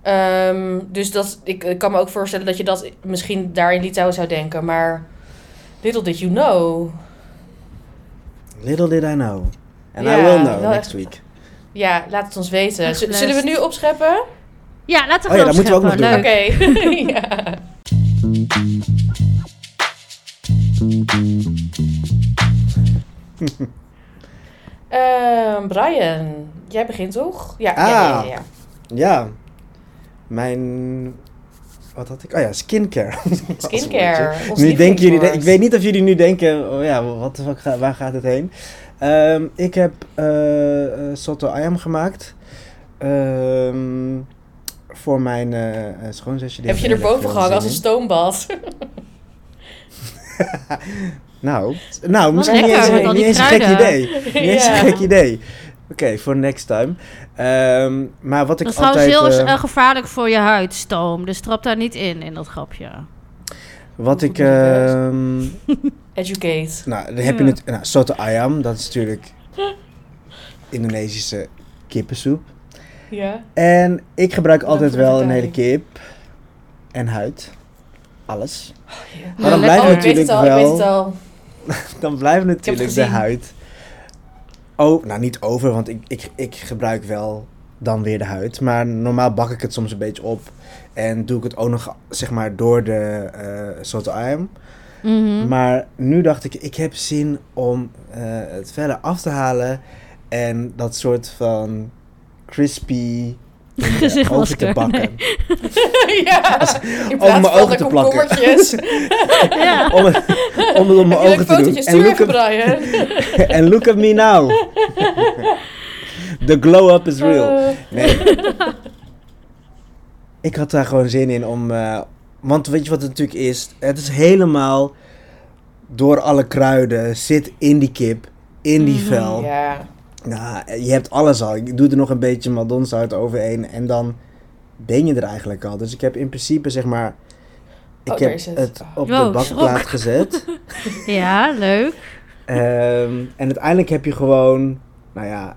Speaker 1: Ehm, dus dat, ik, ik kan me ook voorstellen dat je dat misschien daar in Litouwen zou denken, maar little did you know.
Speaker 2: Little did I know. And
Speaker 1: Ja,
Speaker 2: I will know
Speaker 1: wel
Speaker 2: next
Speaker 1: echt-
Speaker 2: week.
Speaker 1: Ja, laat het ons weten.
Speaker 3: Echt
Speaker 1: Z- zullen we
Speaker 3: blessed.
Speaker 1: nu opscheppen?
Speaker 3: Ja, laten we
Speaker 2: Oh ja,
Speaker 3: gewoon
Speaker 2: dat moeten we ook nog
Speaker 3: opscheppen.
Speaker 2: doen.
Speaker 3: Leuk.
Speaker 1: Oké. ja. Ehm, Brian, jij begint toch? Ja, ja, ja, ja,
Speaker 2: Ah.
Speaker 1: ja.
Speaker 2: Ja, mijn. Wat had ik? Oh ja, skincare. Als woordje.
Speaker 1: Skincare. ons
Speaker 2: Nu denken jullie,
Speaker 1: lievelingswoord.
Speaker 2: ik weet niet of jullie nu denken, oh ja, wat de fuck, ga- waar gaat het heen? Ehm, ik heb eh, eh, Soto Ayam gemaakt. Ehm, voor mijn eh eh, schoonzusje. die
Speaker 1: Heb je
Speaker 2: heeft
Speaker 1: er
Speaker 2: heel
Speaker 1: boven
Speaker 2: erg veel
Speaker 1: gehangen als een
Speaker 2: zin
Speaker 1: stoombad?
Speaker 2: in. Nou, t- nou misschien niet
Speaker 1: lekker,
Speaker 2: eens,
Speaker 1: met
Speaker 3: al
Speaker 2: niet
Speaker 3: die
Speaker 2: eens een gek
Speaker 3: kruiden.
Speaker 2: idee. Niet eens
Speaker 1: Ja.
Speaker 2: een gek idee. Oké, voor next time. Ehm, maar wat ik
Speaker 3: Dat is trouwens
Speaker 2: altijd...
Speaker 3: heel
Speaker 2: eh,
Speaker 3: eh, gevaarlijk voor je huid, stoom. Dus trap daar niet in, in dat grapje.
Speaker 2: wat ik...
Speaker 1: Goed met je huis.
Speaker 2: ehm,
Speaker 1: Educate.
Speaker 2: Nou, dan heb
Speaker 3: Ja.
Speaker 2: je het. Nou, soto ayam, dat is natuurlijk Indonesische kippensoep.
Speaker 1: Ja.
Speaker 2: En ik gebruik
Speaker 1: Bedankt
Speaker 2: altijd
Speaker 1: voor de
Speaker 2: wel een hele
Speaker 1: vertaling.
Speaker 2: kip en huid. Alles.
Speaker 3: Ja,
Speaker 2: Maar dan blijft
Speaker 1: oh, ik weet
Speaker 2: natuurlijk
Speaker 1: het al, ik weet het
Speaker 2: wel.
Speaker 1: al.
Speaker 2: Dan blijft natuurlijk de
Speaker 1: gezien.
Speaker 2: huid. Oh, nou niet over, want ik, ik, ik gebruik wel dan weer de huid. Maar normaal bak ik het soms een beetje op. En doe ik het ook nog, zeg maar, door de eh soto ayam.
Speaker 1: Hm?
Speaker 3: Mhm.
Speaker 2: Maar nu dacht ik, ik heb zin om eh, het verder af te halen en dat soort van crispy in je
Speaker 3: Gezicht
Speaker 2: ogen te
Speaker 3: masker,
Speaker 2: bakken.
Speaker 1: ja. In
Speaker 2: Om mijn
Speaker 1: plaats van
Speaker 2: ogen
Speaker 1: de
Speaker 2: te plakken.
Speaker 1: komkommertjes.
Speaker 3: Ja.
Speaker 2: Om, het- om het om mijn
Speaker 1: Heb je
Speaker 2: ogen
Speaker 1: een
Speaker 2: te doen.
Speaker 1: fotootje?
Speaker 2: En
Speaker 1: Stuur
Speaker 2: look,
Speaker 1: even,
Speaker 2: at,
Speaker 1: Brian.
Speaker 2: and look at me now. The glow up is real.
Speaker 1: Eh,
Speaker 2: Nee. ik had daar gewoon zin in om. eh, want weet je wat het natuurlijk is? Het is helemaal door alle kruiden. Zit in die kip, in die
Speaker 3: Mhm,
Speaker 2: vel.
Speaker 1: Eh, ja.
Speaker 2: Nou, je hebt alles al. Ik doe er nog een beetje madonzout overheen en dan ben je er eigenlijk al. Dus ik heb in principe zeg maar... Ik
Speaker 1: Oh, daar
Speaker 2: heb
Speaker 1: is
Speaker 2: het.
Speaker 1: het.
Speaker 2: op
Speaker 3: Wow,
Speaker 2: de
Speaker 3: ik
Speaker 2: bakplaat gezet.
Speaker 3: ja, leuk.
Speaker 2: Ehm, en uiteindelijk heb je gewoon, nou ja,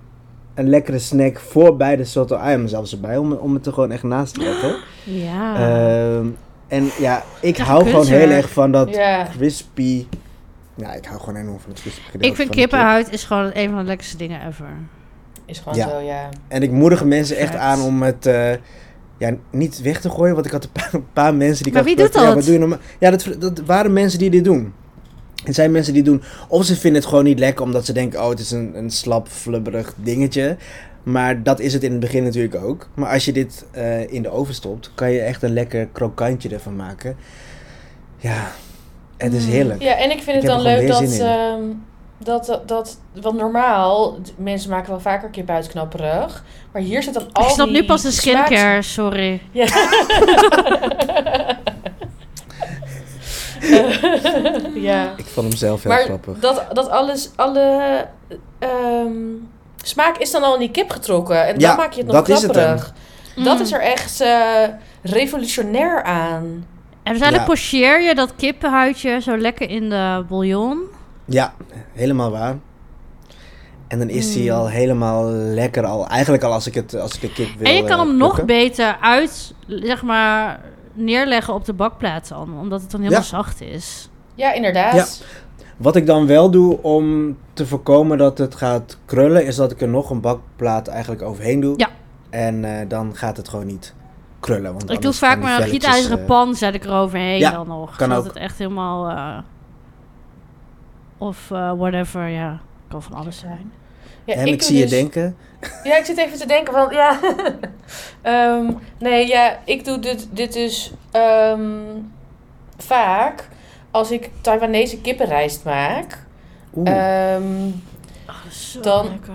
Speaker 2: een lekkere snack voor bij de soto ayam zelfs erbij. Om, om het er gewoon echt naast te zetten.
Speaker 3: Ja.
Speaker 2: Ehm, en ja, ik
Speaker 3: Echt
Speaker 2: hou gewoon
Speaker 3: kunstwerk.
Speaker 2: heel erg van dat
Speaker 1: Ja.
Speaker 2: crispy... Ja, ik hou gewoon enorm van het crispy gedeelte
Speaker 3: ik vind
Speaker 2: van de kip.
Speaker 3: kippenhuid is gewoon een van de lekkerste dingen ever.
Speaker 1: Is gewoon
Speaker 2: Ja.
Speaker 1: zo, ja.
Speaker 2: En ik moedig mensen echt
Speaker 3: Vet.
Speaker 2: aan om het eh, ja, niet weg te gooien. Want ik had een paar, een paar mensen die ik
Speaker 3: Maar
Speaker 2: had
Speaker 3: wie doet
Speaker 2: gevraagd, Ja,
Speaker 3: dat?
Speaker 2: wat doe je normaal? ja dat, dat waren mensen die dit doen. Het zijn mensen die doen. Of ze vinden het gewoon niet lekker omdat ze denken: oh, het is een, een slap, flubberig dingetje. Maar dat is het in het begin natuurlijk ook. Maar als je dit eh, in de oven stopt, kan je echt een lekker krokantje ervan maken. Ja, het is
Speaker 3: Mm.
Speaker 2: heerlijk.
Speaker 1: Ja, en ik vind het
Speaker 2: heb
Speaker 1: dan
Speaker 2: er gewoon
Speaker 1: leuk
Speaker 2: weer
Speaker 1: dat,
Speaker 2: zin in.
Speaker 1: ehm, dat, dat, dat... Want normaal, d- mensen maken wel vaker kip uitknapperig. Maar hier zit dan al
Speaker 3: ik snap
Speaker 1: die
Speaker 3: nu pas de
Speaker 1: smaaks-
Speaker 3: skincare, sorry.
Speaker 1: Ja. Eh, ja.
Speaker 2: Ik vond hem zelf heel
Speaker 1: Maar
Speaker 2: grappig.
Speaker 1: dat, dat alles, alle ehm, smaak is dan al in die kip getrokken. En
Speaker 2: Ja,
Speaker 1: dan maak je het nog
Speaker 2: dat is het
Speaker 1: knapperig. dat
Speaker 3: Mm.
Speaker 1: is er echt eh, revolutionair aan.
Speaker 3: En uiteindelijk
Speaker 2: Ja.
Speaker 3: pocheer je dat kippenhuidje zo lekker in de bouillon.
Speaker 2: Ja, helemaal waar. En dan is die
Speaker 1: Mm.
Speaker 2: al helemaal lekker al. Eigenlijk al als ik, het, als ik de kip wil
Speaker 3: Hmm. en je kan
Speaker 2: eh,
Speaker 3: hem nog
Speaker 2: plukken.
Speaker 3: beter uit, zeg maar, neerleggen op de bakplaat dan. Omdat het dan helemaal
Speaker 2: Ja.
Speaker 3: zacht is.
Speaker 1: Ja, inderdaad.
Speaker 2: Ja. Wat ik dan wel doe om te voorkomen dat het gaat krullen, is dat ik er nog een bakplaat eigenlijk overheen doe.
Speaker 3: Ja.
Speaker 2: En eh, dan gaat het gewoon niet krullen. Want
Speaker 3: ik doe
Speaker 2: anders
Speaker 3: vaak
Speaker 2: gaan die
Speaker 3: maar een
Speaker 2: velletjes,
Speaker 3: gietijzeren
Speaker 2: eh,
Speaker 3: pan, zet ik eroverheen
Speaker 2: ja,
Speaker 3: dan nog.
Speaker 2: kan
Speaker 3: zodat
Speaker 2: ook.
Speaker 3: het echt helemaal... eh, of eh, whatever, ja. Kan van alles zijn.
Speaker 1: Ja,
Speaker 2: en ik,
Speaker 1: doe
Speaker 2: zie je
Speaker 1: dus-
Speaker 2: denken.
Speaker 1: Ja, ik zit even te denken van, ja. Ehm, nee, ja, ik doe dit, dit dus ehm, vaak als ik Taiwanese kippenrijst maak.
Speaker 2: Oeh,
Speaker 1: Ehm,
Speaker 3: Oh, zo
Speaker 1: Dan-
Speaker 3: lekker.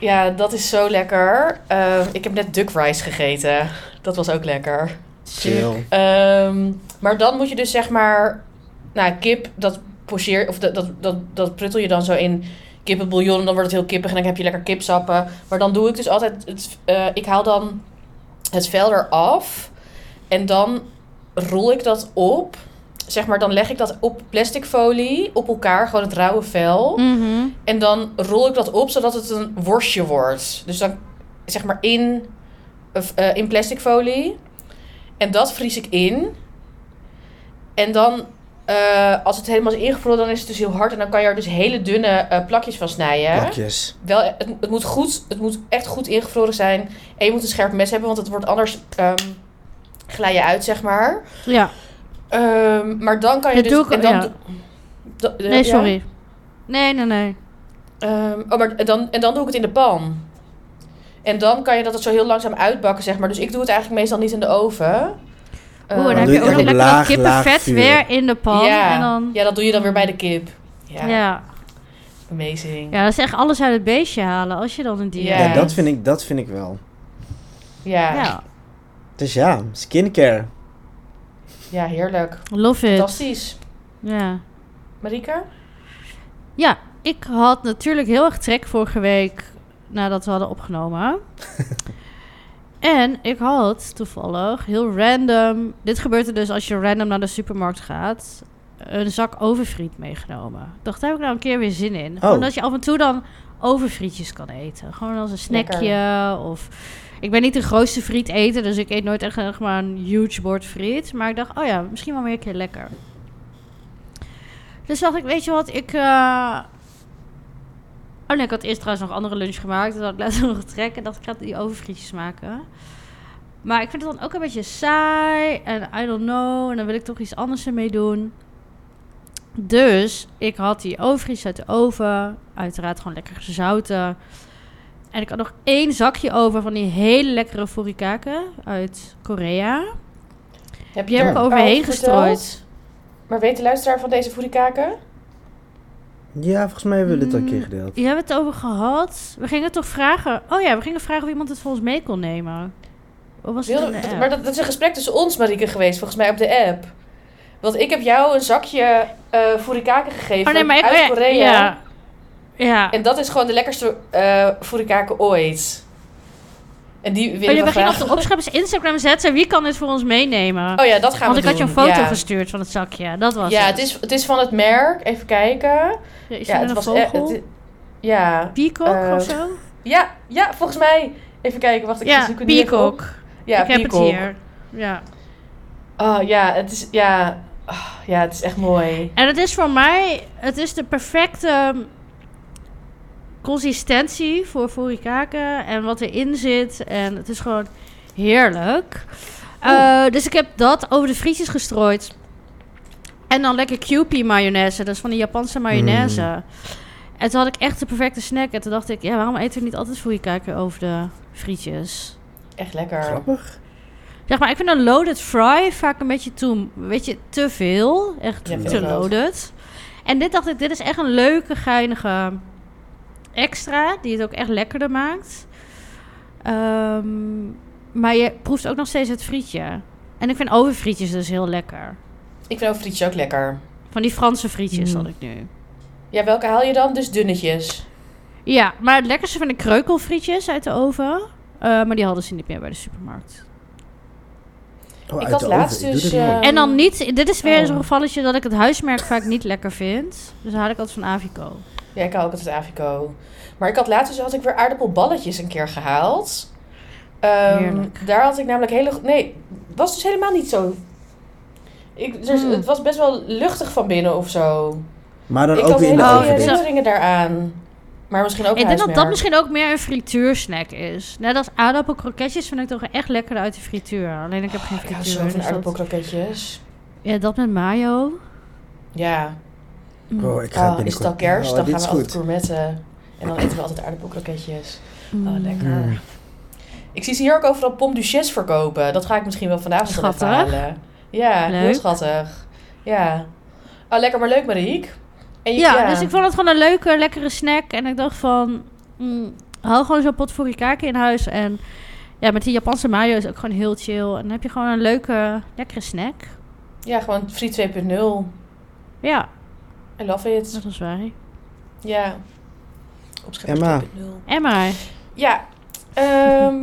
Speaker 1: ja, dat is zo lekker. Ehm, ik heb net duck rice gegeten. Dat was ook lekker.
Speaker 2: chill.
Speaker 1: Ehm, maar dan moet je dus zeg maar, nou kip, dat pocheer, of dat, dat, dat, dat pruttel je dan zo in kippenbouillon en dan wordt het heel kippig en dan heb je lekker kipsappen. Maar dan doe ik dus altijd, het, eh, ik haal dan het vel eraf en dan rol ik dat op. Zeg maar, dan leg ik dat op plastic folie, op elkaar, gewoon het rauwe vel.
Speaker 3: Mhm.
Speaker 1: En dan rol ik dat op zodat het een worstje wordt. Dus dan zeg maar in, of, eh, in plastic folie. En dat vries ik in. En dan, eh, als het helemaal is ingevroren, dan is het dus heel hard. En dan kan je er dus hele dunne eh, plakjes van snijden.
Speaker 2: Plakjes.
Speaker 1: Wel, het, het, moet goed, het moet echt goed ingevroren zijn. En je moet een scherp mes hebben, want het wordt anders ehm glij je uit, zeg maar.
Speaker 3: Ja,
Speaker 1: Ehm, maar dan kan je
Speaker 3: Dat
Speaker 1: dus...
Speaker 3: doe ik-
Speaker 1: en dan
Speaker 3: ja.
Speaker 1: doe- da- eh,
Speaker 3: nee,
Speaker 1: ja?
Speaker 3: sorry. Nee, nee, nee.
Speaker 1: Ehm, oh, maar dan, en dan doe ik het in de pan. En dan kan je dat het zo heel langzaam uitbakken, zeg maar. Dus ik doe het eigenlijk meestal niet in de oven.
Speaker 3: Oeh, en
Speaker 1: Ehm,
Speaker 3: dan heb
Speaker 2: doe
Speaker 3: je
Speaker 2: je echt
Speaker 3: ook nog
Speaker 2: op
Speaker 3: lekker dat
Speaker 2: laag, laag
Speaker 3: kippenvet
Speaker 2: vuur.
Speaker 3: weer in de pan.
Speaker 1: ja,
Speaker 3: En dan,
Speaker 1: ja, dat doe je dan weer bij de kip. Ja,
Speaker 3: ja. Ja.
Speaker 1: amazing.
Speaker 3: dat is echt alles uit het beestje halen als je dan een dier
Speaker 1: Ja.
Speaker 2: Ja, dat vind, ik, dat vind ik wel.
Speaker 1: Ja, ja.
Speaker 3: Ja,
Speaker 2: Dus ja, skincare.
Speaker 1: heerlijk.
Speaker 3: love it.
Speaker 1: Fantastisch.
Speaker 3: Ja.
Speaker 1: Marika?
Speaker 3: ja, ik had natuurlijk heel erg trek vorige week nadat we hadden opgenomen. en ik had toevallig heel random... Dit gebeurt er dus als je random naar de supermarkt gaat... een zak overfriet meegenomen. Ik dacht, daar heb ik nou een keer weer zin in.
Speaker 2: Oh.
Speaker 3: Omdat je af en toe dan overfrietjes kan eten. Gewoon als een snackje of... Ik ben niet de grootste friet eten, dus ik eet nooit echt zeg maar, een huge bord friet. Maar ik dacht, oh ja, misschien wel weer een keer lekker. Dus dacht ik, weet je wat, ik... eh, Oh nee, ik had eerst trouwens nog andere lunch gemaakt. Dat had ik later nog getrek en dacht ik, ga die overfrietjes maken. Maar ik vind het dan ook een beetje saai en I don't know. En dan wil ik toch iets anders ermee doen. Dus ik had die overfries uit de oven. Uiteraard gewoon lekker gezouten. En ik had nog één zakje over van die hele lekkere furikake uit Korea.
Speaker 1: Heb
Speaker 3: Die heb
Speaker 1: er
Speaker 3: ik overheen
Speaker 1: over verteld?
Speaker 3: gestrooid.
Speaker 1: Maar weet de luisteraar van deze voedikaken?
Speaker 2: Ja, volgens mij hebben we dit al een
Speaker 3: Mm,
Speaker 2: keer gedeeld.
Speaker 3: Je hebt het over gehad. We gingen toch vragen. Oh ja, we gingen vragen of iemand het voor ons mee kon nemen. Of was het eh, in de app?
Speaker 1: Maar dat, dat is een gesprek tussen ons, Marika, geweest. Volgens mij op de app. Want ik heb jou een zakje eh voedikaken gegeven
Speaker 3: Oh nee, maar ik
Speaker 1: uit
Speaker 3: oh ja,
Speaker 1: Korea.
Speaker 3: Ja. ja.
Speaker 1: En dat is gewoon de lekkerste eh furikake ooit. En die
Speaker 3: Oh,
Speaker 1: willen
Speaker 3: ja,
Speaker 1: we
Speaker 3: we gingen op
Speaker 1: graag...
Speaker 3: de opschepers Instagram zetten. Wie kan dit voor ons meenemen?
Speaker 1: Oh ja, dat gaan
Speaker 3: Want
Speaker 1: we
Speaker 3: ik had je een
Speaker 1: doen.
Speaker 3: foto
Speaker 1: ja.
Speaker 3: gestuurd van het zakje. Dat was
Speaker 1: Ja,
Speaker 3: het.
Speaker 1: het is, het is van het merk. Even kijken.
Speaker 3: Ja, Is
Speaker 1: ja,
Speaker 3: het
Speaker 1: het
Speaker 3: een
Speaker 1: was...
Speaker 3: vogel?
Speaker 1: eh, het- ja.
Speaker 3: Peacock
Speaker 1: Eh,
Speaker 3: of zo?
Speaker 1: ja. Ja, volgens mij. Even kijken, wacht. Ik
Speaker 3: Ja,
Speaker 1: zoek het nu even op.
Speaker 3: peacock.
Speaker 1: Ja,
Speaker 3: ik heb
Speaker 1: peacock.
Speaker 3: het hier. Ja.
Speaker 1: Oh ja, het is... Ja. Ah, ja, het is echt mooi.
Speaker 3: En het is voor mij, het is de perfecte ehm, consistentie voor furikake en wat erin zit. En het is gewoon heerlijk. Eh, dus ik heb dat over de frietjes gestrooid. En dan lekker Kewpie mayonaise, dat is van die Japanse mayonaise.
Speaker 1: Mm.
Speaker 3: En toen had ik echt de perfecte snack. En toen dacht ik, ja, waarom eten we niet altijd furikake over de frietjes?
Speaker 1: Echt lekker.
Speaker 2: Grappig.
Speaker 3: Zeg maar, ik vind een loaded fry vaak een beetje te, weet je, te veel. Echt
Speaker 1: Ja, vind
Speaker 3: te
Speaker 1: ik ook.
Speaker 3: loaded. En dit dacht ik, dit is echt een leuke, geinige extra. Die het ook echt lekkerder maakt. Ehm, maar je proeft ook nog steeds het frietje. En ik vind ovenfrietjes dus heel lekker.
Speaker 1: Ik vind ook frietjes ook lekker.
Speaker 3: Van die Franse frietjes
Speaker 2: Mm.
Speaker 3: had ik nu.
Speaker 1: Ja, welke haal je dan? Dus dunnetjes.
Speaker 3: Ja, maar het lekkerste vind ik kreukelfrietjes uit de oven. Eh, maar die hadden ze niet meer bij de supermarkt.
Speaker 2: Oh,
Speaker 1: Ik
Speaker 2: uit
Speaker 1: had
Speaker 2: de
Speaker 1: laatst
Speaker 2: oven. Ik doe
Speaker 1: dus,
Speaker 2: dit nooit.
Speaker 1: eh,
Speaker 3: En dan niet... Dit is weer
Speaker 1: Oh.
Speaker 3: zo'n gevalletje dat ik het huismerk vaak niet lekker vind. Dus dan haal ik altijd van Avico.
Speaker 1: Ja, ik hou ook altijd Avico. Maar ik had laatst dus had ik weer aardappelballetjes een keer gehaald. Ehm,
Speaker 3: Heerlijk.
Speaker 1: daar had ik namelijk hele... go- Nee, was dus helemaal niet zo... Ik, er,
Speaker 3: Mm.
Speaker 1: Het was best wel luchtig van binnen of zo.
Speaker 2: maar dan
Speaker 1: ik
Speaker 2: ook
Speaker 1: had
Speaker 2: weer in de
Speaker 1: hele
Speaker 3: hele
Speaker 1: goede
Speaker 2: oven.
Speaker 3: goede
Speaker 2: dus.
Speaker 1: herinneringen
Speaker 3: recept.
Speaker 1: daaraan. Maar misschien ook
Speaker 3: ik denk dat dat
Speaker 1: huismerk.
Speaker 3: misschien ook meer een frituursnack is. Net als aardappelkroketjes vind ik toch echt lekker uit de frituur. Alleen ik heb geen
Speaker 1: Oh, Ik hou
Speaker 3: frituur.
Speaker 1: zo van
Speaker 3: dus dat,
Speaker 1: aardappelkroketjes.
Speaker 3: ja, dat met mayo.
Speaker 1: Ja.
Speaker 3: Mm.
Speaker 2: Oh, ik ga
Speaker 1: Oh, is
Speaker 2: binnenkort-
Speaker 1: het al kerst?
Speaker 2: Oh,
Speaker 1: dan
Speaker 2: dit
Speaker 1: gaan we
Speaker 2: is
Speaker 1: altijd
Speaker 2: goed.
Speaker 1: gourmetten. En dan eten we altijd aardappelkroketjes. Oh,
Speaker 3: Mm.
Speaker 1: lekker.
Speaker 2: Hmm.
Speaker 1: Ik zie ze hier ook overal Pom Duchesse verkopen. Dat ga ik misschien wel vanavond nog even
Speaker 3: Schattig.
Speaker 1: halen. Ja, heel
Speaker 3: Leuk.
Speaker 1: schattig. Ja. Oh, lekker maar leuk, Marieke. En je-
Speaker 3: Ja, dus ik vond het gewoon een leuke, lekkere snack. En ik dacht van, mm, haal gewoon zo'n pot kaken in huis. En ja, met die Japanse mayo is ook gewoon heel chill. En dan heb je gewoon een leuke, lekkere snack.
Speaker 1: ja, gewoon Friet 2.0.
Speaker 3: Ja,
Speaker 1: I love it.
Speaker 3: dat was waar.
Speaker 1: Ja. Opscheppers
Speaker 2: Emma.
Speaker 1: 2.0.
Speaker 3: Emma,
Speaker 1: Ja, ehm,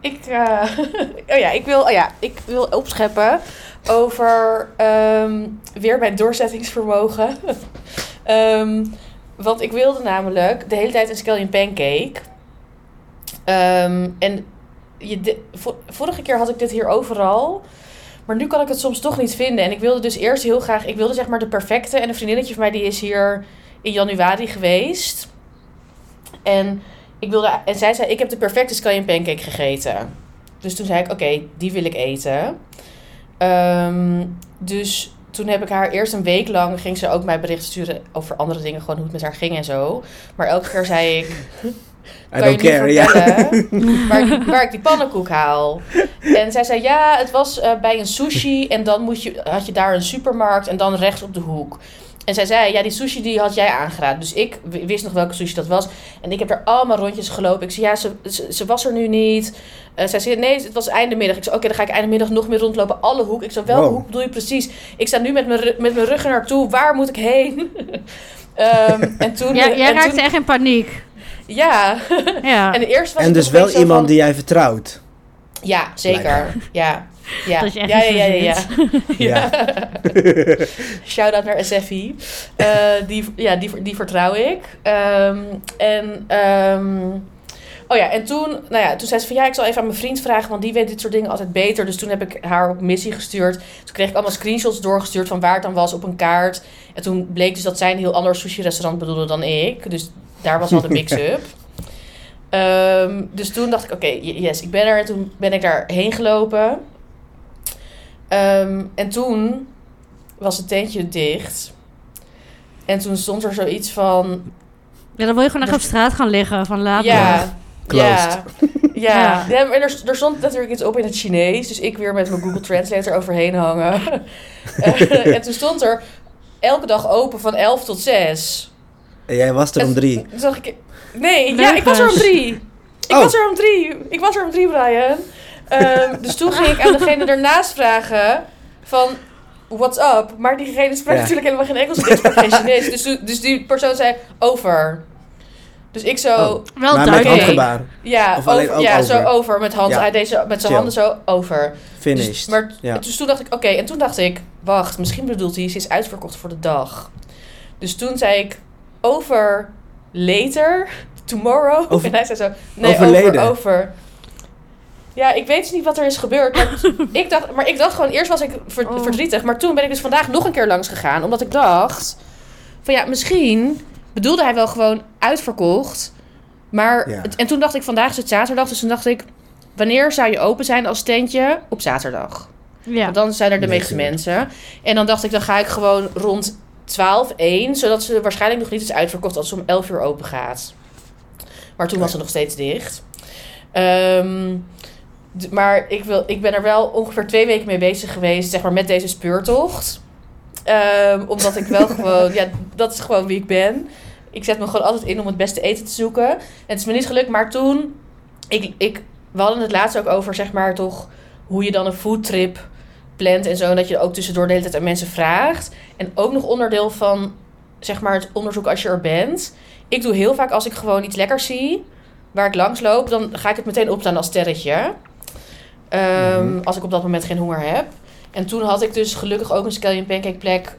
Speaker 1: ik, eh, oh ja, ik wil, oh ja, ik wil opscheppen over ehm, weer mijn doorzettingsvermogen. Ehm, want ik wilde namelijk de hele tijd een scallion pancake. Ehm, en je, de- vo- vorige keer had ik dit hier overal. Maar nu kan ik het soms toch niet vinden. En ik wilde dus eerst heel graag... Ik wilde zeg maar de perfecte. En een vriendinnetje van mij die is hier in januari geweest. En, ik wilde, en zij zei, ik heb de perfecte scallion pancake gegeten. Dus toen zei ik, oké, die wil ik eten. Ehm, dus toen heb ik haar eerst een week lang... ging ze ook mij berichten sturen over andere dingen. Gewoon hoe het met haar ging en zo. Maar elke keer zei ik... Kan
Speaker 2: I
Speaker 1: je
Speaker 2: don't
Speaker 1: niet
Speaker 2: care, ja.
Speaker 1: vertellen waar, ik die- waar ik die pannenkoek haal. En zij zei, ja, het was eh, bij een sushi en dan moet je, had je daar een supermarkt en dan rechts op de hoek. En zij zei, ja, die sushi die had jij aangeraden. Dus ik w- wist nog welke sushi dat was. En ik heb er allemaal rondjes gelopen. Ik zei, ja, ze, ze, ze was er nu niet. Eh, zij zei, nee, het was eindemiddag. Ik zei, oké, dan ga ik eindemiddag nog meer rondlopen. Alle hoek. Ik zei, welke
Speaker 2: Wow.
Speaker 1: hoek bedoel je precies? Ik sta nu met mijn, ru- met mijn rug er naartoe. Waar moet ik heen? Ehm, en toen...
Speaker 3: ja, jij
Speaker 1: en
Speaker 3: raakte
Speaker 1: toen-
Speaker 3: echt in paniek.
Speaker 1: Ja.
Speaker 3: Ja,
Speaker 1: En de eerste was
Speaker 2: En
Speaker 1: ik
Speaker 2: dus
Speaker 1: nog een
Speaker 2: wel
Speaker 1: beetje zo
Speaker 2: iemand
Speaker 1: van-
Speaker 2: die jij vertrouwt.
Speaker 1: Ja, zeker. Ja. Ja.
Speaker 3: Dat is echt
Speaker 1: ja,
Speaker 3: niet
Speaker 1: ja, ja, ja,
Speaker 3: verzint.
Speaker 1: ja. Shout-out naar SFI. Eh, die, ja, die, die vertrouw ik. Ehm, en... ehm, Oh ja, en toen, nou ja, toen zei ze van ja, ik zal even aan mijn vriend vragen, want die weet dit soort dingen altijd beter. Dus toen heb ik haar op missie gestuurd. Toen kreeg ik allemaal screenshots doorgestuurd van waar het dan was op een kaart. En toen bleek dus dat zij een heel ander sushi-restaurant bedoelde dan ik. Dus daar was al de mix-up. Ehm, dus toen dacht ik, oké, y- yes, ik ben er. En toen ben ik daarheen gelopen. Ehm, en toen was het tentje dicht. En toen stond er zoiets van...
Speaker 3: ja, dan wil je gewoon echt op straat gaan liggen. Van laat maar.
Speaker 1: Ja.
Speaker 2: Closed.
Speaker 1: Ja, ja.
Speaker 3: Ja.
Speaker 1: Ja, maar er, er stond natuurlijk iets op in het Chinees. Dus ik weer met mijn Google Translate eroverheen hangen. Eh, en toen stond er elke dag open van 11 tot 6.
Speaker 2: En jij was er om
Speaker 1: Het-
Speaker 2: drie.
Speaker 1: Toen dacht ik... Nee, ja, ik was er om
Speaker 3: Nergens.
Speaker 1: drie. Ik
Speaker 2: Oh.
Speaker 1: was er om drie. Ik was er om drie, Brian. Ehm, dus toen ging ik aan degene ernaast vragen van... What's up? Maar diegene sprak
Speaker 2: Ja.
Speaker 1: natuurlijk helemaal geen Engels. Ik sprak geen Chinees. Dus, toen- dus die persoon zei over. Dus ik zo...
Speaker 2: Oh.
Speaker 3: Wel
Speaker 2: maar met
Speaker 1: duidelijk.
Speaker 2: handgebaar.
Speaker 1: Ja,
Speaker 2: Of alleen
Speaker 1: over-
Speaker 2: ook
Speaker 1: ja zo
Speaker 2: over?
Speaker 1: over met, hand,
Speaker 2: Ja.
Speaker 1: hij deed zo, met zijn
Speaker 2: Chill.
Speaker 1: handen zo over. Dus-
Speaker 2: Finished.
Speaker 1: maar
Speaker 2: Ja.
Speaker 1: dus toen dacht ik, oké, en toen dacht ik, wacht, misschien bedoelt hij, ze is uitverkocht voor de dag. Dus toen zei ik, over later, tomorrow.
Speaker 2: Over-
Speaker 1: en hij zei zo, nee,
Speaker 2: overleden.
Speaker 1: over, over. Ja, ik weet dus niet wat er is gebeurd. Maar ik, dacht, maar ik dacht gewoon, eerst was ik ver-
Speaker 3: Oh.
Speaker 1: verdrietig. Maar toen ben ik dus vandaag nog een keer langs gegaan. Omdat ik dacht, van ja, misschien bedoelde hij wel gewoon uitverkocht. Maar,
Speaker 2: Ja.
Speaker 1: en toen dacht ik, vandaag is het zaterdag. Dus toen dacht ik, wanneer zou je open zijn als tentje? Op zaterdag.
Speaker 3: Ja.
Speaker 1: Want dan zijn er de
Speaker 2: Nee,
Speaker 1: meeste
Speaker 2: tuurlijk.
Speaker 1: mensen. En dan dacht ik, dan ga ik gewoon rond 12, 1. Zodat ze waarschijnlijk nog niet is uitverkocht als ze om 11 uur open gaat. Maar toen was ze nog steeds dicht. Ehm, d- maar ik, wil, ik ben er wel ongeveer twee weken mee bezig geweest, zeg maar, met deze speurtocht. Ehm, omdat ik wel gewoon, ja, dat is gewoon wie ik ben. Ik zet me gewoon altijd in om het beste eten te zoeken. En het is me niet gelukt, maar toen, ik, ik, we hadden het laatst ook over, zeg maar, toch, hoe je dan een foodtrip plant en zo. En dat je ook tussendoor de hele tijd aan mensen vraagt. En ook nog onderdeel van zeg maar het onderzoek als je er bent. Ik doe heel vaak als ik gewoon iets lekkers zie, waar ik langs loop, dan ga ik het meteen opstaan als sterretje. Ehm,
Speaker 2: Mhm.
Speaker 1: Als ik op dat moment geen honger heb. En toen had ik dus gelukkig ook een scallion pancake plek.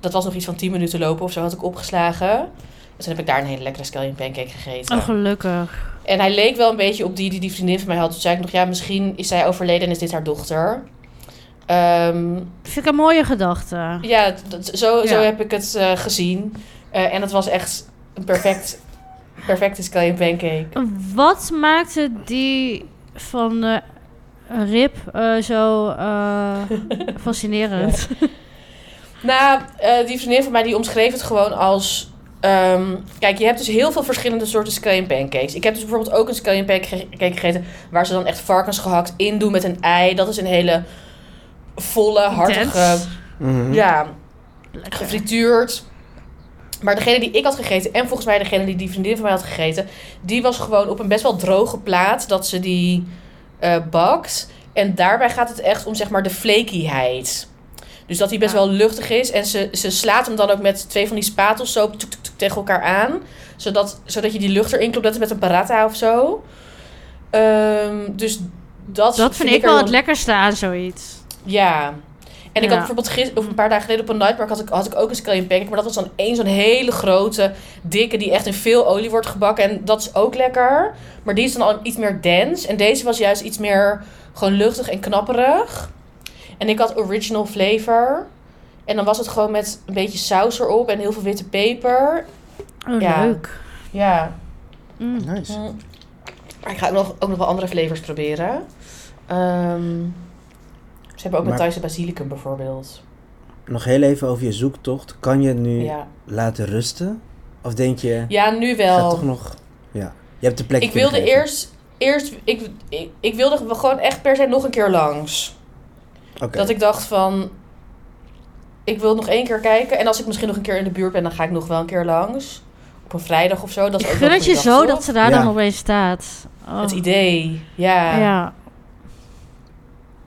Speaker 1: Dat was nog iets van 10 minuten lopen of zo, had ik opgeslagen. Dus toen heb ik daar een hele lekkere scallion pancake gegeten.
Speaker 3: Oh, gelukkig.
Speaker 1: En hij leek wel een beetje op die die die vriendin van mij had. Toen zei ik nog, ja, misschien is zij overleden en is dit haar dochter. Ehm,
Speaker 3: Vind ik een mooie gedachte.
Speaker 1: ja, dat, zo, zo
Speaker 3: Ja.
Speaker 1: heb ik het eh, gezien. Eh, en het was echt een perfect, perfecte scallion pancake.
Speaker 3: Wat maakte die van eh, Rip eh, zo eh, fascinerend?
Speaker 1: Nou, eh, die vriendin van mij die omschreef het gewoon als... ehm, kijk, je hebt dus heel veel verschillende soorten scallion pancakes. Ik heb dus bijvoorbeeld ook een scallion pancake gegeten... waar ze dan echt varkens gehakt in doen met een ei. Dat is een hele volle, hartige...
Speaker 3: Intens.
Speaker 2: Mhm.
Speaker 1: Ja,
Speaker 3: Lekker.
Speaker 1: gefrituurd. Maar degene die ik had gegeten, en volgens mij degene die die vriendin van mij had gegeten, die was gewoon op een best wel droge plaat dat ze die eh, bakt. En daarbij gaat het echt om zeg maar de flakyheid. Dus dat die best
Speaker 3: Ja.
Speaker 1: wel luchtig is. En ze, ze slaat hem dan ook met twee van die spatels zo tuk, tuk, tuk, tegen elkaar aan. Zodat, zodat je die lucht erin klopt. Dat is met een paratha of zo. Ehm, dus dat,
Speaker 3: Dat vind ik
Speaker 1: er
Speaker 3: wel
Speaker 1: dan-
Speaker 3: het lekkerste aan zoiets.
Speaker 1: ja. En ik
Speaker 3: Ja.
Speaker 1: had bijvoorbeeld gisteren, of een paar dagen geleden op een nightmark had ik, had ik ook een scallion pancake. Maar dat was dan één zo'n hele grote, dikke, die echt in veel olie wordt gebakken. En dat is ook lekker. Maar die is dan al iets meer dense. En deze was juist iets meer gewoon luchtig en knapperig. En ik had original flavor. En dan was het gewoon met een beetje saus erop en heel veel witte peper.
Speaker 3: Oh,
Speaker 1: Ja.
Speaker 3: leuk.
Speaker 1: Ja.
Speaker 3: Mm.
Speaker 2: Nice.
Speaker 1: Mm. Maar Ik ga ook nog, ook nog wel andere flavors proberen. Ehm, ze hebben ook
Speaker 2: Maar-
Speaker 1: een Thaise basilicum bijvoorbeeld.
Speaker 2: Nog heel even over je zoektocht. Kan je het nu
Speaker 1: Ja.
Speaker 2: laten rusten? Of denk je,
Speaker 1: Ja, nu
Speaker 2: ga
Speaker 1: wel.
Speaker 2: toch nog... Ja, je hebt de plek
Speaker 1: ik
Speaker 2: kunnen
Speaker 1: wilde
Speaker 2: geven.
Speaker 1: eerst, eerst ik, ik, ik wilde gewoon echt per se nog een keer langs.
Speaker 2: Oké.
Speaker 1: Dat ik dacht van, ik wil nog één keer kijken. En als ik misschien nog een keer in de buurt ben, dan ga ik nog wel een keer langs. Op een vrijdag of zo. Dat
Speaker 3: Ik
Speaker 1: is ook
Speaker 3: gun
Speaker 1: wel
Speaker 3: het je
Speaker 1: een goede
Speaker 3: zo
Speaker 1: dag,
Speaker 3: dat
Speaker 1: toch?
Speaker 3: ze daar
Speaker 2: Ja.
Speaker 3: dan opeens staat. Oh.
Speaker 1: Het idee, ja.
Speaker 3: Ja.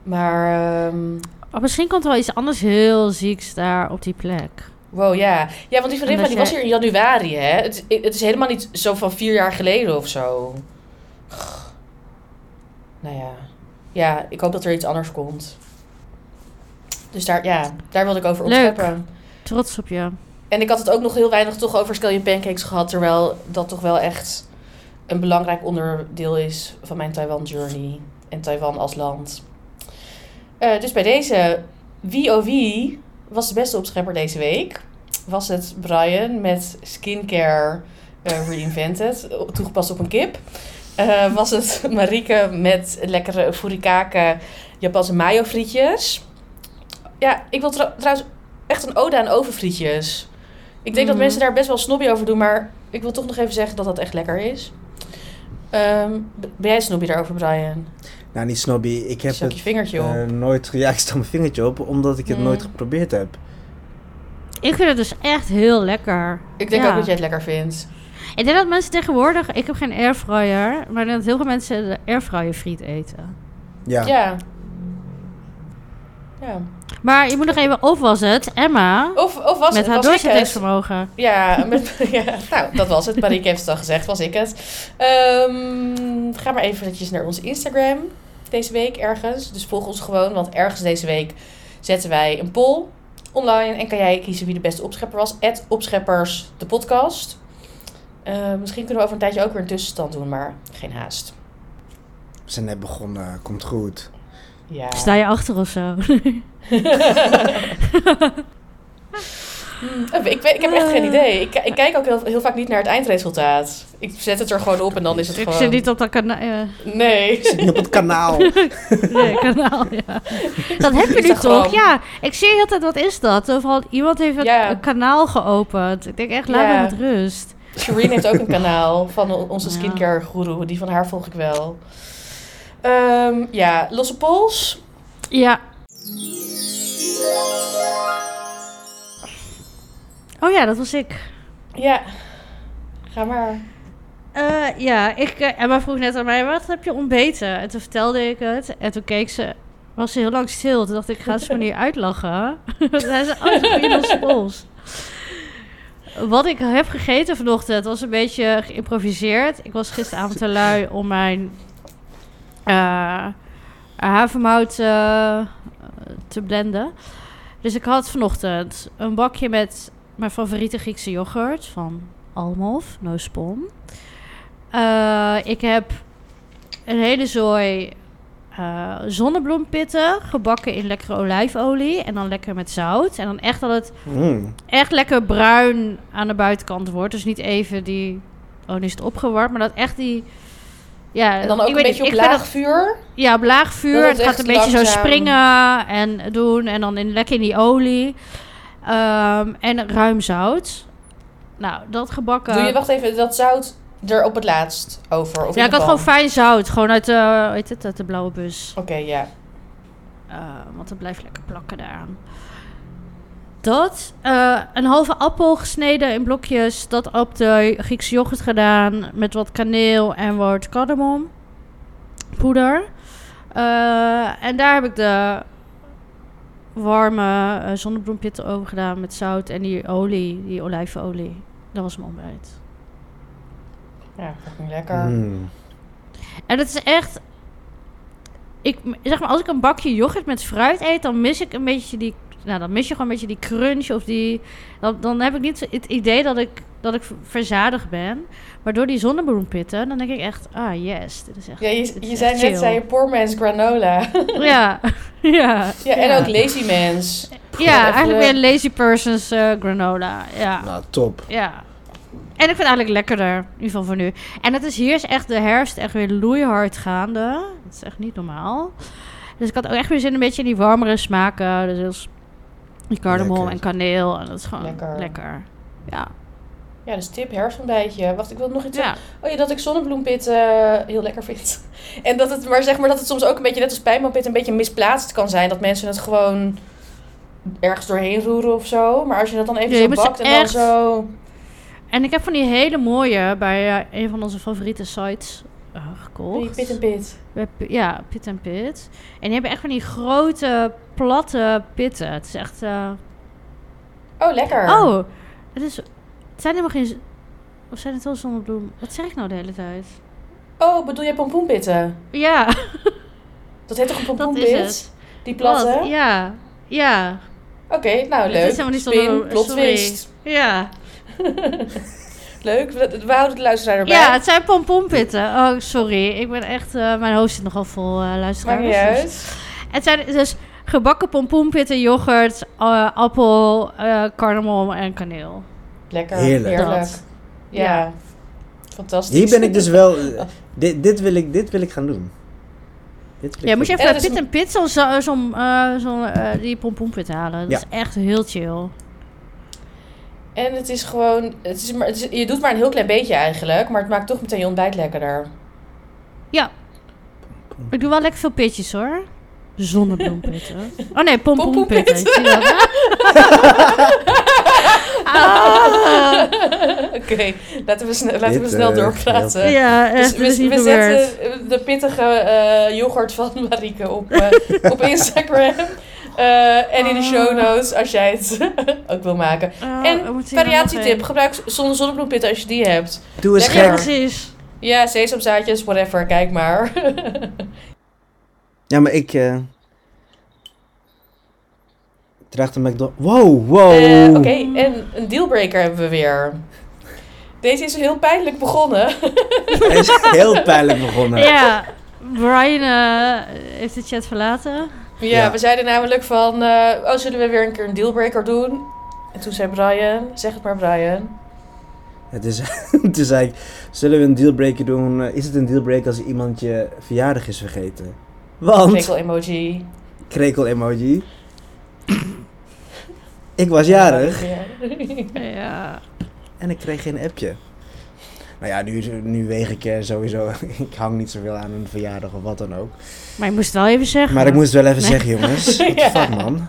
Speaker 1: Maar, ehm,
Speaker 3: Oh, misschien komt er wel iets anders heel zieks daar op die plek.
Speaker 1: wow, ja. Ja, want die vriendin van
Speaker 3: dat
Speaker 1: die was
Speaker 3: jij-
Speaker 1: hier in januari, hè. Het, het is helemaal niet zo van vier jaar geleden of zo. Nou ja. Ja, ik hoop dat er iets anders komt. Dus daar, ja, daar wilde ik over
Speaker 3: Leuk.
Speaker 1: opscheppen.
Speaker 3: Trots op je.
Speaker 1: En ik had het ook nog heel weinig toch over scallion pancakes gehad. Terwijl dat toch wel echt een belangrijk onderdeel is van mijn Taiwan journey. En Taiwan als land. Eh, dus bij deze, wie oh wie was de beste opschepper deze week? Was het Brian met skincare eh, reinvented, toegepast op een kip? Eh, was het Marieke met lekkere furikake Japanse mayo frietjes? Ja, ik wil trou- trouwens echt een ode aan overfrietjes. Ik denk dat
Speaker 3: Mhm.
Speaker 1: mensen daar best wel snobby over doen, maar ik wil toch nog even zeggen dat dat echt lekker is. Ehm, b- ben jij snobby daarover, Brian?
Speaker 2: Nou, niet snobby. Ik heb
Speaker 1: Stak
Speaker 2: het
Speaker 1: je vingertje op.
Speaker 2: eh, nooit... ge- Ja, ik stak mijn vingertje op, omdat ik het
Speaker 1: Mm.
Speaker 2: nooit geprobeerd heb.
Speaker 3: Ik vind het dus echt heel lekker.
Speaker 1: ik denk
Speaker 3: ja.
Speaker 1: ook dat jij het lekker vindt.
Speaker 3: Ik denk dat mensen tegenwoordig... Ik heb geen airfryer. Maar ik denk dat heel veel mensen de airfryer friet eten.
Speaker 2: Ja.
Speaker 1: Ja. ja.
Speaker 3: Maar je moet nog even... Of was het Emma...
Speaker 1: Of, of was
Speaker 3: met
Speaker 1: het,
Speaker 3: haar
Speaker 1: was ik het?
Speaker 3: doorzettingsvermogen.
Speaker 1: Ja, met, ja, nou, dat was het. Marieke heeft het al gezegd, was ik het. Ehm, ga maar eventjes naar ons Instagram deze week ergens. Dus volg ons gewoon, want ergens deze week zetten wij een poll online. En kan jij kiezen wie de beste opschepper was. Het opscheppers, de podcast. Eh, misschien kunnen we over een tijdje ook weer een tussenstand doen, maar geen haast.
Speaker 2: We zijn net begonnen. Komt goed.
Speaker 1: Dus nou Ja.
Speaker 3: Sta je achter of zo?
Speaker 1: Hmm, ik, weet, ik heb echt
Speaker 3: Eh.
Speaker 1: geen idee. Ik, ik kijk ook heel, heel vaak niet naar het eindresultaat. Ik zet het er gewoon op en dan is het
Speaker 3: Ik
Speaker 1: gewoon...
Speaker 3: zit niet op dat kana eh,
Speaker 1: Nee.
Speaker 2: Ik zit niet op het kanaal.
Speaker 3: nee, kanaal. Ja. Dat heb je nu
Speaker 1: Instagram.
Speaker 3: toch? Ja, ik zie heel de tijd, wat is dat? Overal, iemand heeft het
Speaker 1: Ja.
Speaker 3: een kanaal geopend. Ik denk echt, laat
Speaker 1: Ja.
Speaker 3: me met rust.
Speaker 1: Shireen heeft ook een kanaal van on- onze
Speaker 3: Ja.
Speaker 1: skincare guru. Die van haar volg ik wel. Ehm, ja, losse pols.
Speaker 3: Ja. Oh ja, dat was ik.
Speaker 1: Ja. Ga maar.
Speaker 3: Eh, ja, ik, eh, Emma vroeg net aan mij, wat heb je ontbeten? En toen vertelde ik het. En toen keek ze, was ze heel lang stil. Toen dacht ik, ga ze me niet uitlachen. Toen zei ze, oh, dat is een goede losse pols. Wat ik heb gegeten vanochtend was een beetje geïmproviseerd. Ik was gisteravond te lui om mijn eh havermout eh, te blenden. Dus ik had vanochtend een bakje met mijn favoriete Griekse yoghurt van Almov, no spon. Eh, ik heb een hele zooi eh, zonnebloempitten gebakken in lekkere olijfolie en dan lekker met zout. En dan echt dat het
Speaker 2: Mm.
Speaker 3: echt lekker bruin aan de buitenkant wordt. Dus niet even die. Oh, nu is het opgewarmd, maar dat echt die. Ja,
Speaker 1: En dan ook
Speaker 3: ik
Speaker 1: een
Speaker 3: weet-
Speaker 1: beetje op
Speaker 3: ik vind
Speaker 1: laag
Speaker 3: dat-
Speaker 1: vuur.
Speaker 3: ja, op laag vuur.
Speaker 1: Dat het
Speaker 3: het gaat
Speaker 1: echt
Speaker 3: een beetje zo
Speaker 1: langzaam-
Speaker 3: springen en doen. En dan in, lekker in die olie. Ehm, en ruim zout. Nou, dat gebakken.
Speaker 1: Doe je, wacht even, dat zout er op het laatst over? Of
Speaker 3: ja,
Speaker 1: in
Speaker 3: ik
Speaker 1: de
Speaker 3: had gewoon
Speaker 1: pan?
Speaker 3: fijn zout. Gewoon uit de, weet het, uit de blauwe bus.
Speaker 1: Oké, ja.
Speaker 3: Eh, want het blijft lekker plakken daaraan. Dat, eh, een halve appel gesneden in blokjes. Dat op de Griekse yoghurt gedaan. Met wat kaneel en wat cardamom. Poeder. Eh, en daar heb ik de warme eh, zonnebloempitten over gedaan. Met zout en die olie, die olijfolie. Dat was mijn ontbijt.
Speaker 1: Ja, fucking lekker.
Speaker 2: Mm.
Speaker 3: En het is echt. Ik, zeg maar, als ik een bakje yoghurt met fruit eet, dan mis ik een beetje die. Nou, dan mis je gewoon een beetje die crunch of die. Dan, dan heb ik niet het idee dat ik, dat ik verzadigd ben. Maar door die zonnebloempitten, dan denk ik echt, ah yes, dit is echt.
Speaker 1: Ja,
Speaker 3: dit
Speaker 1: je,
Speaker 3: is
Speaker 1: je
Speaker 3: echt
Speaker 1: zei net,
Speaker 3: chill.
Speaker 1: zei je poor man's granola.
Speaker 3: Ja, ja.
Speaker 1: ja, en ook lazy mans.
Speaker 3: Ja,
Speaker 1: even-
Speaker 3: eigenlijk weer lazy person's eh, granola. Ja.
Speaker 2: Nou, top.
Speaker 3: Ja. En ik vind het eigenlijk lekkerder, in ieder geval voor nu. En het is hier is echt de herfst echt weer loeihard gaande. Dat is echt niet normaal. Dus ik had ook echt weer zin een beetje in die warmere smaken. Dus als die cardamom
Speaker 2: Lekker.
Speaker 3: en kaneel. En dat is gewoon lekker.
Speaker 1: Lekker.
Speaker 3: Ja.
Speaker 1: Ja, dus tip, herfstbijtje. Wacht, ik wil nog iets
Speaker 3: ja.
Speaker 1: Oh ja, dat ik zonnebloempit eh, heel lekker vind. En dat het, maar zeg maar dat het soms ook een beetje, net als pijnboompit, een beetje misplaatst kan zijn. Dat mensen het gewoon ergens doorheen roeren of zo. Maar als je dat dan even
Speaker 3: Ja, je
Speaker 1: zo
Speaker 3: moet ze
Speaker 1: bakt en dan
Speaker 3: echt-
Speaker 1: zo...
Speaker 3: En ik heb van die hele mooie bij eh, een van onze favoriete sites eh, gekocht.
Speaker 1: Die pit en pit.
Speaker 3: Bij Pi- Ja, pit en pit. En die hebben echt van die grote, platte pitten. Het is echt... eh,
Speaker 1: Oh, lekker.
Speaker 3: Oh, het, is, het zijn helemaal geen... z- Of zijn het wel zonnebloem? Wat zeg ik nou de hele tijd?
Speaker 1: Oh, bedoel je pompoenpitten?
Speaker 3: Ja,
Speaker 1: Dat heet toch een
Speaker 3: dat is
Speaker 1: pompoenpit?
Speaker 3: het.
Speaker 1: Die platte?
Speaker 3: Wat? Ja, ja.
Speaker 1: Oké, nou
Speaker 3: Het is
Speaker 1: Oh, leuk.
Speaker 3: helemaal niet
Speaker 1: Spin,
Speaker 3: zonnebloem.
Speaker 1: plot
Speaker 3: sorry.
Speaker 1: twist.
Speaker 3: Ja.
Speaker 1: Leuk, we, we houden de luisteraar erbij.
Speaker 3: ja, het zijn pompoenpitten. Oh, sorry. Ik ben echt... eh, mijn hoofd zit nogal vol eh
Speaker 1: Maakt
Speaker 3: luisteraars.
Speaker 1: niet
Speaker 3: Dus-
Speaker 1: uit.
Speaker 3: Het zijn dus gebakken pompoenpitten, yoghurt, eh, appel, eh cardamom en kaneel.
Speaker 1: Lekker,
Speaker 2: Heerlijk.
Speaker 1: heerlijk.
Speaker 3: Dat.
Speaker 1: Ja.
Speaker 3: Ja.
Speaker 1: fantastisch.
Speaker 2: Hier ben ik dus wel... Dit, dit, wil, ik, dit wil ik gaan doen. Dit wil
Speaker 3: Ja,
Speaker 2: ik
Speaker 3: moet je
Speaker 2: doen.
Speaker 3: even
Speaker 1: En dat
Speaker 3: bij Pit
Speaker 1: is-
Speaker 3: en Pit zo'n zo, zo'n, eh, zo'n, eh, die pompoenpit halen. Dat
Speaker 2: Ja.
Speaker 3: is echt heel chill.
Speaker 1: En het is gewoon, het is maar, het is- je doet maar een heel klein beetje eigenlijk, maar het maakt toch meteen je ontbijt lekkerder.
Speaker 3: Ik doe wel lekker veel pitjes hoor. Zonnebloempitten. Oh nee, pompoenpitten. Ik zie dat. Ah.
Speaker 1: Oké, laten we, snel, laten we
Speaker 2: Dit,
Speaker 1: snel
Speaker 2: eh,
Speaker 1: doorpraten.
Speaker 3: Ah, Ja,
Speaker 1: Dus
Speaker 3: echt, dit is
Speaker 1: we,
Speaker 3: niet
Speaker 1: we
Speaker 3: gebeurd.
Speaker 1: zetten eh, de pittige eh, yoghurt van Marike op, eh, op Instagram. Eh, en in de show notes als jij het ook wil maken.
Speaker 3: Oh,
Speaker 1: En
Speaker 3: we moeten hier nog
Speaker 1: Variatietip,
Speaker 3: een.
Speaker 1: gebruik zonder zonnebloempitten als je die hebt.
Speaker 2: Doe eens
Speaker 1: Lekker.
Speaker 3: Ja,
Speaker 2: gek.
Speaker 3: precies.
Speaker 1: Ja, sesamzaadjes, whatever, kijk maar.
Speaker 2: Ja, maar ik... eh draag de McDonald's... Wow, wow.
Speaker 1: Eh, Oké, en een dealbreaker hebben we weer. Deze is heel pijnlijk begonnen.
Speaker 2: Hij is heel pijnlijk begonnen.
Speaker 3: Ja, Brian eh, heeft de chat verlaten.
Speaker 1: Ja,
Speaker 2: Ja.
Speaker 1: we zeiden namelijk van, eh, oh, zullen we weer een keer een dealbreaker doen? En toen zei Brian, zeg het maar Brian.
Speaker 2: Het is, het is eigenlijk... Zullen we een dealbreaker doen? Eh, Is het een dealbreaker als iemand je verjaardag is vergeten? Want...
Speaker 1: Krekel emoji.
Speaker 2: Krekel emoji. ik was jarig.
Speaker 1: Ja.
Speaker 3: Ja.
Speaker 2: En ik kreeg geen appje. Nou ja, nu, nu weeg ik eh, sowieso. ik hang niet zoveel aan een verjaardag of wat dan ook.
Speaker 3: Maar je moest het wel even zeggen.
Speaker 2: Maar ik moest het wel even
Speaker 3: Nee.
Speaker 2: zeggen, jongens. What the
Speaker 1: Ja.
Speaker 2: fuck, man.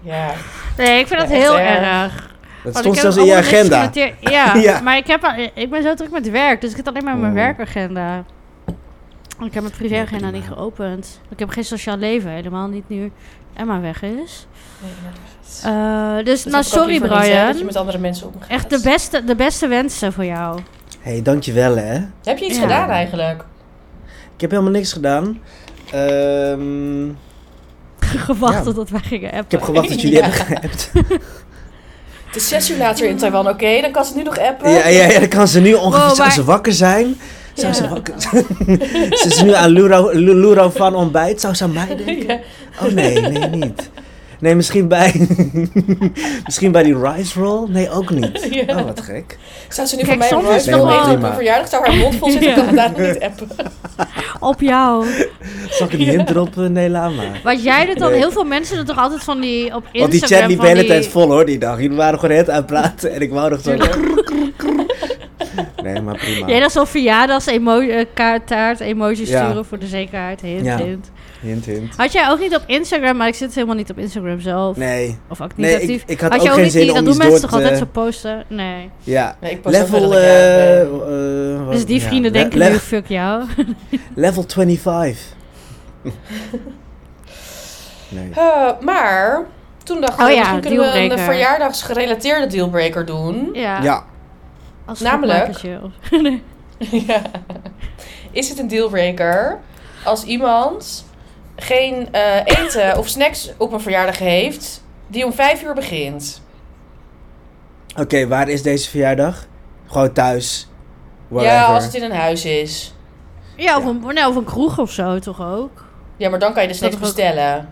Speaker 1: ja.
Speaker 3: Nee, ik vind dat
Speaker 1: Ja, echt
Speaker 3: heel
Speaker 1: erg.
Speaker 3: erg.
Speaker 2: Dat
Speaker 3: Want
Speaker 2: stond
Speaker 3: ik heb
Speaker 2: zelfs in je
Speaker 3: allemaal niks
Speaker 2: agenda.
Speaker 3: genoteerd. Ja,
Speaker 2: Ja.
Speaker 3: maar ik, heb, al- ik ben zo druk met werk, dus ik heb alleen maar mijn
Speaker 2: Oh.
Speaker 3: werkagenda. Ik heb mijn privéagenda niet geopend. Ik heb geen sociaal leven, helemaal niet nu Emma weg is.
Speaker 1: Nee, maar dat is-
Speaker 3: Eh, dus,
Speaker 1: dat heb ik
Speaker 3: nou,
Speaker 1: ook
Speaker 3: sorry
Speaker 1: liever niet, hè,
Speaker 3: Brian.
Speaker 1: Dat je met andere mensen omgaat.
Speaker 3: Echt de beste, de beste wensen voor jou.
Speaker 2: Hé, hey, dankjewel hè.
Speaker 1: Heb je iets
Speaker 3: Ja.
Speaker 1: gedaan eigenlijk?
Speaker 2: Ik heb helemaal niks gedaan. Ehm,
Speaker 3: Gewacht
Speaker 2: Ja.
Speaker 3: totdat wij gingen appen.
Speaker 2: ik heb gewacht dat jullie
Speaker 1: Ja.
Speaker 2: hebben geappt.
Speaker 1: Het is zes uur later in Taiwan, oké? Dan kan ze nu nog appen.
Speaker 2: Ja, ja, ja, dan kan ze nu ongeveer...
Speaker 3: Wow,
Speaker 2: zou
Speaker 3: maar-
Speaker 2: ze wakker zijn? Zou
Speaker 1: Ja.
Speaker 2: ze wakker Ze is nu aan Luro, Lu- Luro van ontbijt. Zou ze aan mij denken?
Speaker 1: Ja.
Speaker 2: Oh nee, nee, niet. Nee, misschien bij... misschien bij die rice roll? Nee, ook niet.
Speaker 1: Ja.
Speaker 2: Oh, wat gek.
Speaker 1: Zou ze nu van
Speaker 3: Kijk,
Speaker 1: mij een
Speaker 3: soms
Speaker 1: roos
Speaker 3: is het
Speaker 1: willen
Speaker 2: wel-
Speaker 1: eten op
Speaker 2: Prima.
Speaker 1: mijn verjaardag? Zou haar mond vol zitten?
Speaker 3: Ja.
Speaker 1: Kan ze daar nog niet appen?
Speaker 3: Op jou.
Speaker 2: Zal ik een hint droppen? Nee, laat maar.
Speaker 3: Wat jij doet dan,
Speaker 2: Nee.
Speaker 3: heel veel mensen doen toch altijd van die op Instagram
Speaker 2: Want die chat liep
Speaker 3: van
Speaker 2: de hele
Speaker 3: die-
Speaker 2: tijd vol hoor, die dag. Jullie waren gewoon het aan het praten en ik wou nog zo... Nee, maar prima.
Speaker 3: Jij dacht zo'n verjaardags eh, taart emoji
Speaker 2: Ja.
Speaker 3: sturen voor de zekerheid. Hint,
Speaker 2: Ja.
Speaker 3: hint.
Speaker 2: Hint, hint.
Speaker 3: Had jij ook niet op Instagram, maar ik zit helemaal niet op Instagram zelf.
Speaker 2: Nee,
Speaker 3: Of ook niet
Speaker 2: Nee,
Speaker 3: actief.
Speaker 2: ik, ik had,
Speaker 3: Had
Speaker 2: ook
Speaker 3: jij ook
Speaker 2: geen
Speaker 3: niet,
Speaker 2: zin
Speaker 3: die-
Speaker 2: om
Speaker 3: dat
Speaker 2: iets
Speaker 3: doen
Speaker 2: door
Speaker 3: mensen toch altijd zo
Speaker 2: te...
Speaker 3: posten? Nee.
Speaker 2: Ja,
Speaker 1: Nee, ik post ook
Speaker 2: level...
Speaker 1: wel dat ik, eh,
Speaker 2: eh,
Speaker 1: nee.
Speaker 2: eh, wat-
Speaker 3: Dus die
Speaker 2: ja,
Speaker 3: vrienden
Speaker 2: le-
Speaker 3: denken
Speaker 2: le-
Speaker 3: nu, fuck jou.
Speaker 2: Level 25. nee.
Speaker 1: Eh, maar toen dacht ik,
Speaker 3: Oh ja,
Speaker 1: misschien kunnen we een eh,
Speaker 3: dealbreaker.
Speaker 1: verjaardagsgerelateerde dealbreaker doen.
Speaker 3: ja.
Speaker 2: Ja,
Speaker 3: Als
Speaker 1: Namelijk-
Speaker 3: grapmakertje of-
Speaker 1: Ja. Is het een dealbreaker als iemand geen eh, eten of snacks op een verjaardag heeft die om vijf uur begint?
Speaker 2: oké, waar is deze verjaardag? Gewoon thuis. Whatever.
Speaker 1: Ja, als het in een huis is.
Speaker 3: Ja, of een, nee, of een kroeg of zo toch ook?
Speaker 1: Ja, maar dan kan je de snacks
Speaker 3: Dat is ook-
Speaker 1: bestellen.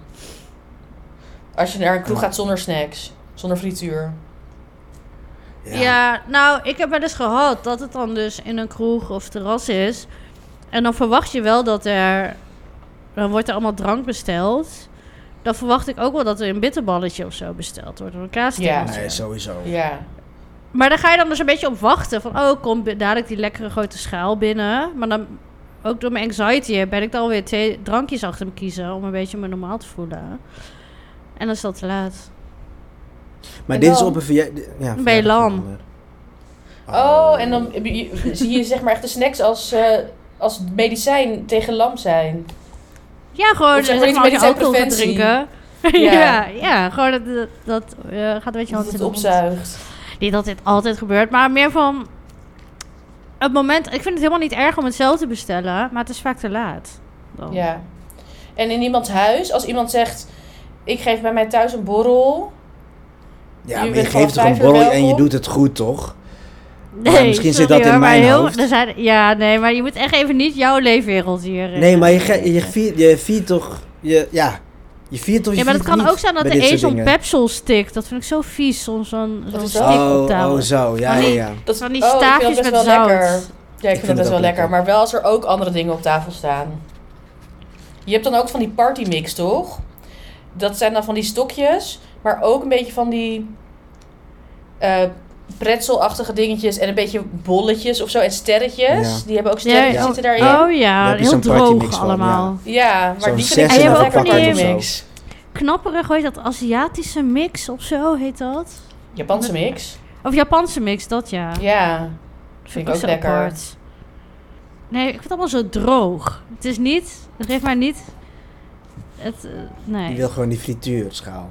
Speaker 1: Als je naar een kroeg gaat zonder snacks, zonder frituur.
Speaker 3: Ja. nou, ik heb wel eens gehad dat het dan dus in een kroeg of terras is. En dan verwacht je wel dat er... Dan wordt er allemaal drank besteld. Dan verwacht ik ook wel dat er een bitterballetje of zo besteld wordt. Of een kaasstengel.
Speaker 2: Nee, sowieso.
Speaker 1: Ja.
Speaker 3: Maar daar ga je dan dus een beetje op wachten. Van, oh, komt bi- dadelijk die lekkere grote schaal binnen. Maar dan, ook door mijn anxiety ben ik dan weer twee drankjes achter me kiezen... om een beetje me normaal te voelen. En dan is dat te laat.
Speaker 2: Maar
Speaker 1: En
Speaker 2: dit is
Speaker 1: dan?
Speaker 2: op een verjaardag... Ja,
Speaker 3: Dan ben je
Speaker 2: verjaardag
Speaker 3: lam.
Speaker 2: van een ander.
Speaker 1: Oh, en dan heb je- zie je zeg maar echt de snacks als, eh, als medicijn tegen lam zijn.
Speaker 3: Ja, gewoon
Speaker 1: Of zeg maar
Speaker 3: zeg
Speaker 1: iets
Speaker 3: maar,
Speaker 1: met
Speaker 3: als je
Speaker 1: iets aan
Speaker 3: alcohol gaat
Speaker 1: preventie.
Speaker 3: drinken.
Speaker 1: Ja.
Speaker 3: Ja. ja, gewoon dat, dat, dat, eh, gaat een beetje
Speaker 1: Dat
Speaker 3: hand in
Speaker 1: het
Speaker 3: de mond.
Speaker 1: opzuigt.
Speaker 3: Niet dat dit altijd gebeurt, maar meer van... Het moment, ik vind het helemaal niet erg om het zelf te bestellen, maar het is vaak te laat. Dan.
Speaker 1: Ja. En in iemands huis, als iemand zegt: Ik geef bij mij thuis een borrel.
Speaker 2: Ja,
Speaker 1: Je
Speaker 2: maar je
Speaker 1: bent vanaf
Speaker 2: geeft toch een
Speaker 1: vijf uur
Speaker 2: borrel en je
Speaker 1: welkom?
Speaker 2: doet het goed, toch?
Speaker 3: Nee,
Speaker 2: Maar misschien zit dat in
Speaker 3: hoor, maar
Speaker 2: mijn
Speaker 3: heel-
Speaker 2: hoofd.
Speaker 3: er zijn, ja, nee, maar je moet echt even niet jouw leefwereld hier. eh.
Speaker 2: Nee, maar je, ge- je, viert, je viert toch... Je, ja, je viert toch je
Speaker 3: Ja, maar het
Speaker 2: viert
Speaker 3: kan
Speaker 2: niet
Speaker 3: ook zijn dat
Speaker 2: bij
Speaker 3: er
Speaker 2: dit
Speaker 3: eens
Speaker 2: soort
Speaker 3: zo'n
Speaker 2: dingen.
Speaker 3: pepsol stikt. Dat vind ik zo vies, soms zo'n
Speaker 1: Wat
Speaker 3: zo'n
Speaker 1: is
Speaker 3: stik
Speaker 1: dat?
Speaker 3: op
Speaker 2: Oh,
Speaker 3: tafel.
Speaker 2: oh, zo. Ja,
Speaker 3: Van
Speaker 2: ja,
Speaker 3: die-
Speaker 2: ja.
Speaker 1: Dat
Speaker 3: Van die
Speaker 1: oh, ik vind dat
Speaker 3: staafjes
Speaker 1: best
Speaker 3: met
Speaker 1: wel
Speaker 3: zout.
Speaker 1: lekker. Ja, ik vind,
Speaker 2: vind
Speaker 1: dat
Speaker 2: het
Speaker 1: best
Speaker 2: ook
Speaker 1: wel lekker.
Speaker 2: lekker.
Speaker 1: Maar wel als er ook andere dingen op tafel staan. Je hebt dan ook van die partymix, toch? Dat zijn dan van die stokjes, maar ook een beetje van die eh pretzelachtige dingetjes en een beetje bolletjes of zo en sterretjes.
Speaker 2: Ja.
Speaker 1: Die hebben ook sterretjes
Speaker 3: Ja,
Speaker 1: zitten daarin. Ja,
Speaker 3: Oh ja,
Speaker 2: heb je
Speaker 3: heel
Speaker 2: zo'n partymix
Speaker 3: droog
Speaker 2: van,
Speaker 3: allemaal.
Speaker 1: maar
Speaker 2: Zo'n
Speaker 1: die vind ik
Speaker 2: zes
Speaker 1: echt
Speaker 3: en
Speaker 1: wel
Speaker 3: een
Speaker 1: lekker
Speaker 3: pakket
Speaker 2: of
Speaker 1: partymix.
Speaker 3: knapperig, hoe heet dat? Aziatische mix of zo heet dat?
Speaker 1: Japanse mix.
Speaker 3: Of Japanse mix, dat ja.
Speaker 1: Ja,
Speaker 3: Dat
Speaker 1: vind ik ook
Speaker 3: zo
Speaker 1: lekker.
Speaker 3: apart. Nee, ik vind het allemaal zo droog. Het is niet, het geeft mij niet. Het, eh,
Speaker 2: Je
Speaker 3: nee.
Speaker 2: wil gewoon die frituurschaal.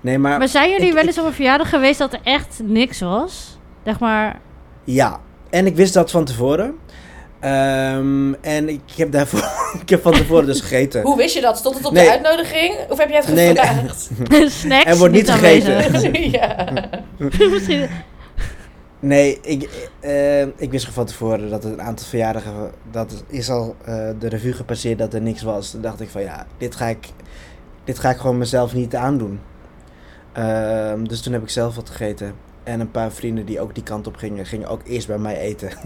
Speaker 2: Nee, maar...
Speaker 3: Maar zijn jullie
Speaker 2: ik-
Speaker 3: wel eens op een verjaardag geweest dat er echt niks was? Zeg maar,
Speaker 2: Ja, en ik wist dat van tevoren. Ehm, en ik heb daarvoor... ik heb van tevoren dus gegeten.
Speaker 1: Hoe wist je dat? Stond het op
Speaker 2: Nee.
Speaker 1: de uitnodiging? Of heb jij het
Speaker 2: Nee, nee.
Speaker 1: gevraagd?
Speaker 3: snacks.
Speaker 2: Er wordt niet gegeten.
Speaker 3: aanwezig.
Speaker 1: ja.
Speaker 3: Misschien-
Speaker 2: Nee, ik, eh, ik wist van tevoren dat het een aantal verjaardagen... Dat is al eh, de revue gepasseerd dat er niks was. Toen dacht ik van ja, dit ga ik, dit ga ik gewoon mezelf niet aandoen. Ehm, dus toen heb ik zelf wat gegeten. En een paar vrienden die ook die kant op gingen, gingen ook eerst bij mij eten.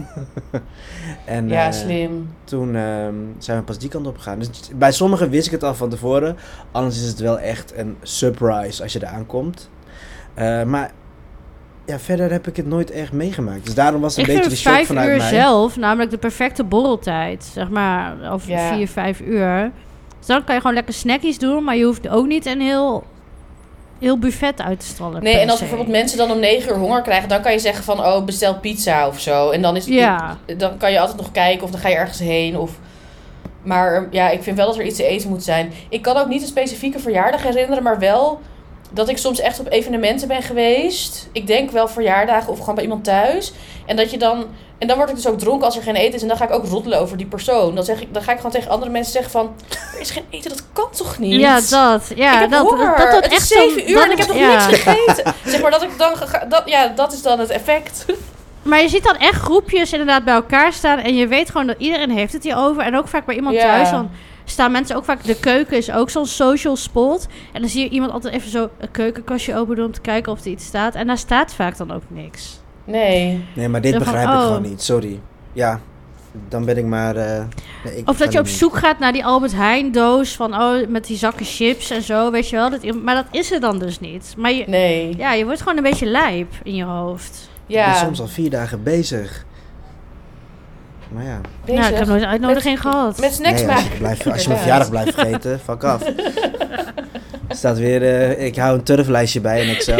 Speaker 2: en,
Speaker 1: ja,
Speaker 2: eh,
Speaker 1: slim.
Speaker 2: toen ehm, zijn we pas die kant op gegaan. Dus t- bij sommigen wist ik het al van tevoren. Anders is het wel echt een surprise als je er aankomt. Eh, maar ja, verder heb ik het nooit echt meegemaakt. Dus daarom was het
Speaker 3: Ik
Speaker 2: een beetje
Speaker 3: vind
Speaker 2: de shock
Speaker 3: vijf
Speaker 2: vanuit
Speaker 3: uur
Speaker 2: mij.
Speaker 3: zelf, namelijk de perfecte borreltijd. Zeg maar, of
Speaker 1: Ja.
Speaker 3: vier, vijf uur. Dus dan kan je gewoon lekker snackies doen, maar je hoeft ook niet een heel, heel buffet uit te stallen.
Speaker 1: Nee,
Speaker 3: per
Speaker 1: en als
Speaker 3: se.
Speaker 1: bijvoorbeeld mensen dan om 9 uur honger krijgen, dan kan je zeggen van, oh, bestel pizza of zo. En dan, is
Speaker 3: Ja.
Speaker 1: dan kan je altijd nog kijken of dan ga je ergens heen of... Maar ehm, ja, ik vind wel dat er iets te eten moet zijn. Ik kan ook niet een specifieke verjaardag herinneren, maar wel dat ik soms echt op evenementen ben geweest. Ik denk wel verjaardagen of gewoon bij iemand thuis. En dat je dan. En dan word ik dus ook dronken als er geen eten is. En dan ga ik ook roddelen over die persoon. Dan, zeg ik, dan ga ik gewoon tegen andere mensen zeggen van... Er is geen eten, dat kan toch niet?
Speaker 3: Ja, dat. Ja,
Speaker 1: ik heb
Speaker 3: dat,
Speaker 1: honger.
Speaker 3: dat, dat
Speaker 1: het
Speaker 3: echt
Speaker 1: is zeven
Speaker 3: zo'n-
Speaker 1: uur
Speaker 3: dat
Speaker 1: en ik
Speaker 3: is-
Speaker 1: heb nog
Speaker 3: ja.
Speaker 1: niks gegeten. zeg maar dat ik dan... ga- Dat, ja, dat is dan het effect.
Speaker 3: Maar je ziet dan echt groepjes inderdaad bij elkaar staan. En je weet gewoon dat iedereen heeft het hierover. En ook vaak bij iemand
Speaker 1: Ja.
Speaker 3: thuis. Dan staan mensen ook vaak... De keuken is ook zo'n social spot. En dan zie je iemand altijd even zo een keukenkastje open doen... om te kijken of er iets staat. En daar staat vaak dan ook niks.
Speaker 1: Nee.
Speaker 2: Nee, maar dit
Speaker 3: Dan van,
Speaker 2: begrijp ik
Speaker 3: oh.
Speaker 2: gewoon niet. Sorry. Ja, dan ben ik maar... eh, nee, ik
Speaker 3: Of
Speaker 2: kan
Speaker 3: dat je op
Speaker 2: niet.
Speaker 3: zoek gaat naar die Albert Heijn doos... van oh, met die zakken chips en zo, weet je wel. Dat, iemand- maar dat is er dan dus niet. Maar je,
Speaker 1: Nee.
Speaker 3: ja, je wordt gewoon een beetje lijp in je hoofd.
Speaker 2: Ik ben
Speaker 1: Ja.
Speaker 2: soms al vier dagen bezig. Maar ja.
Speaker 1: Bezig.
Speaker 3: Nou, ik heb nooit een uitnodiging gehad.
Speaker 1: Met snacks
Speaker 2: Nee, als
Speaker 1: maken.
Speaker 2: je, blijft, als je
Speaker 1: Inderdaad.
Speaker 2: mijn verjaardag blijft vergeten, fuck af. Er staat weer, eh, ik hou een turflijstje bij in Excel.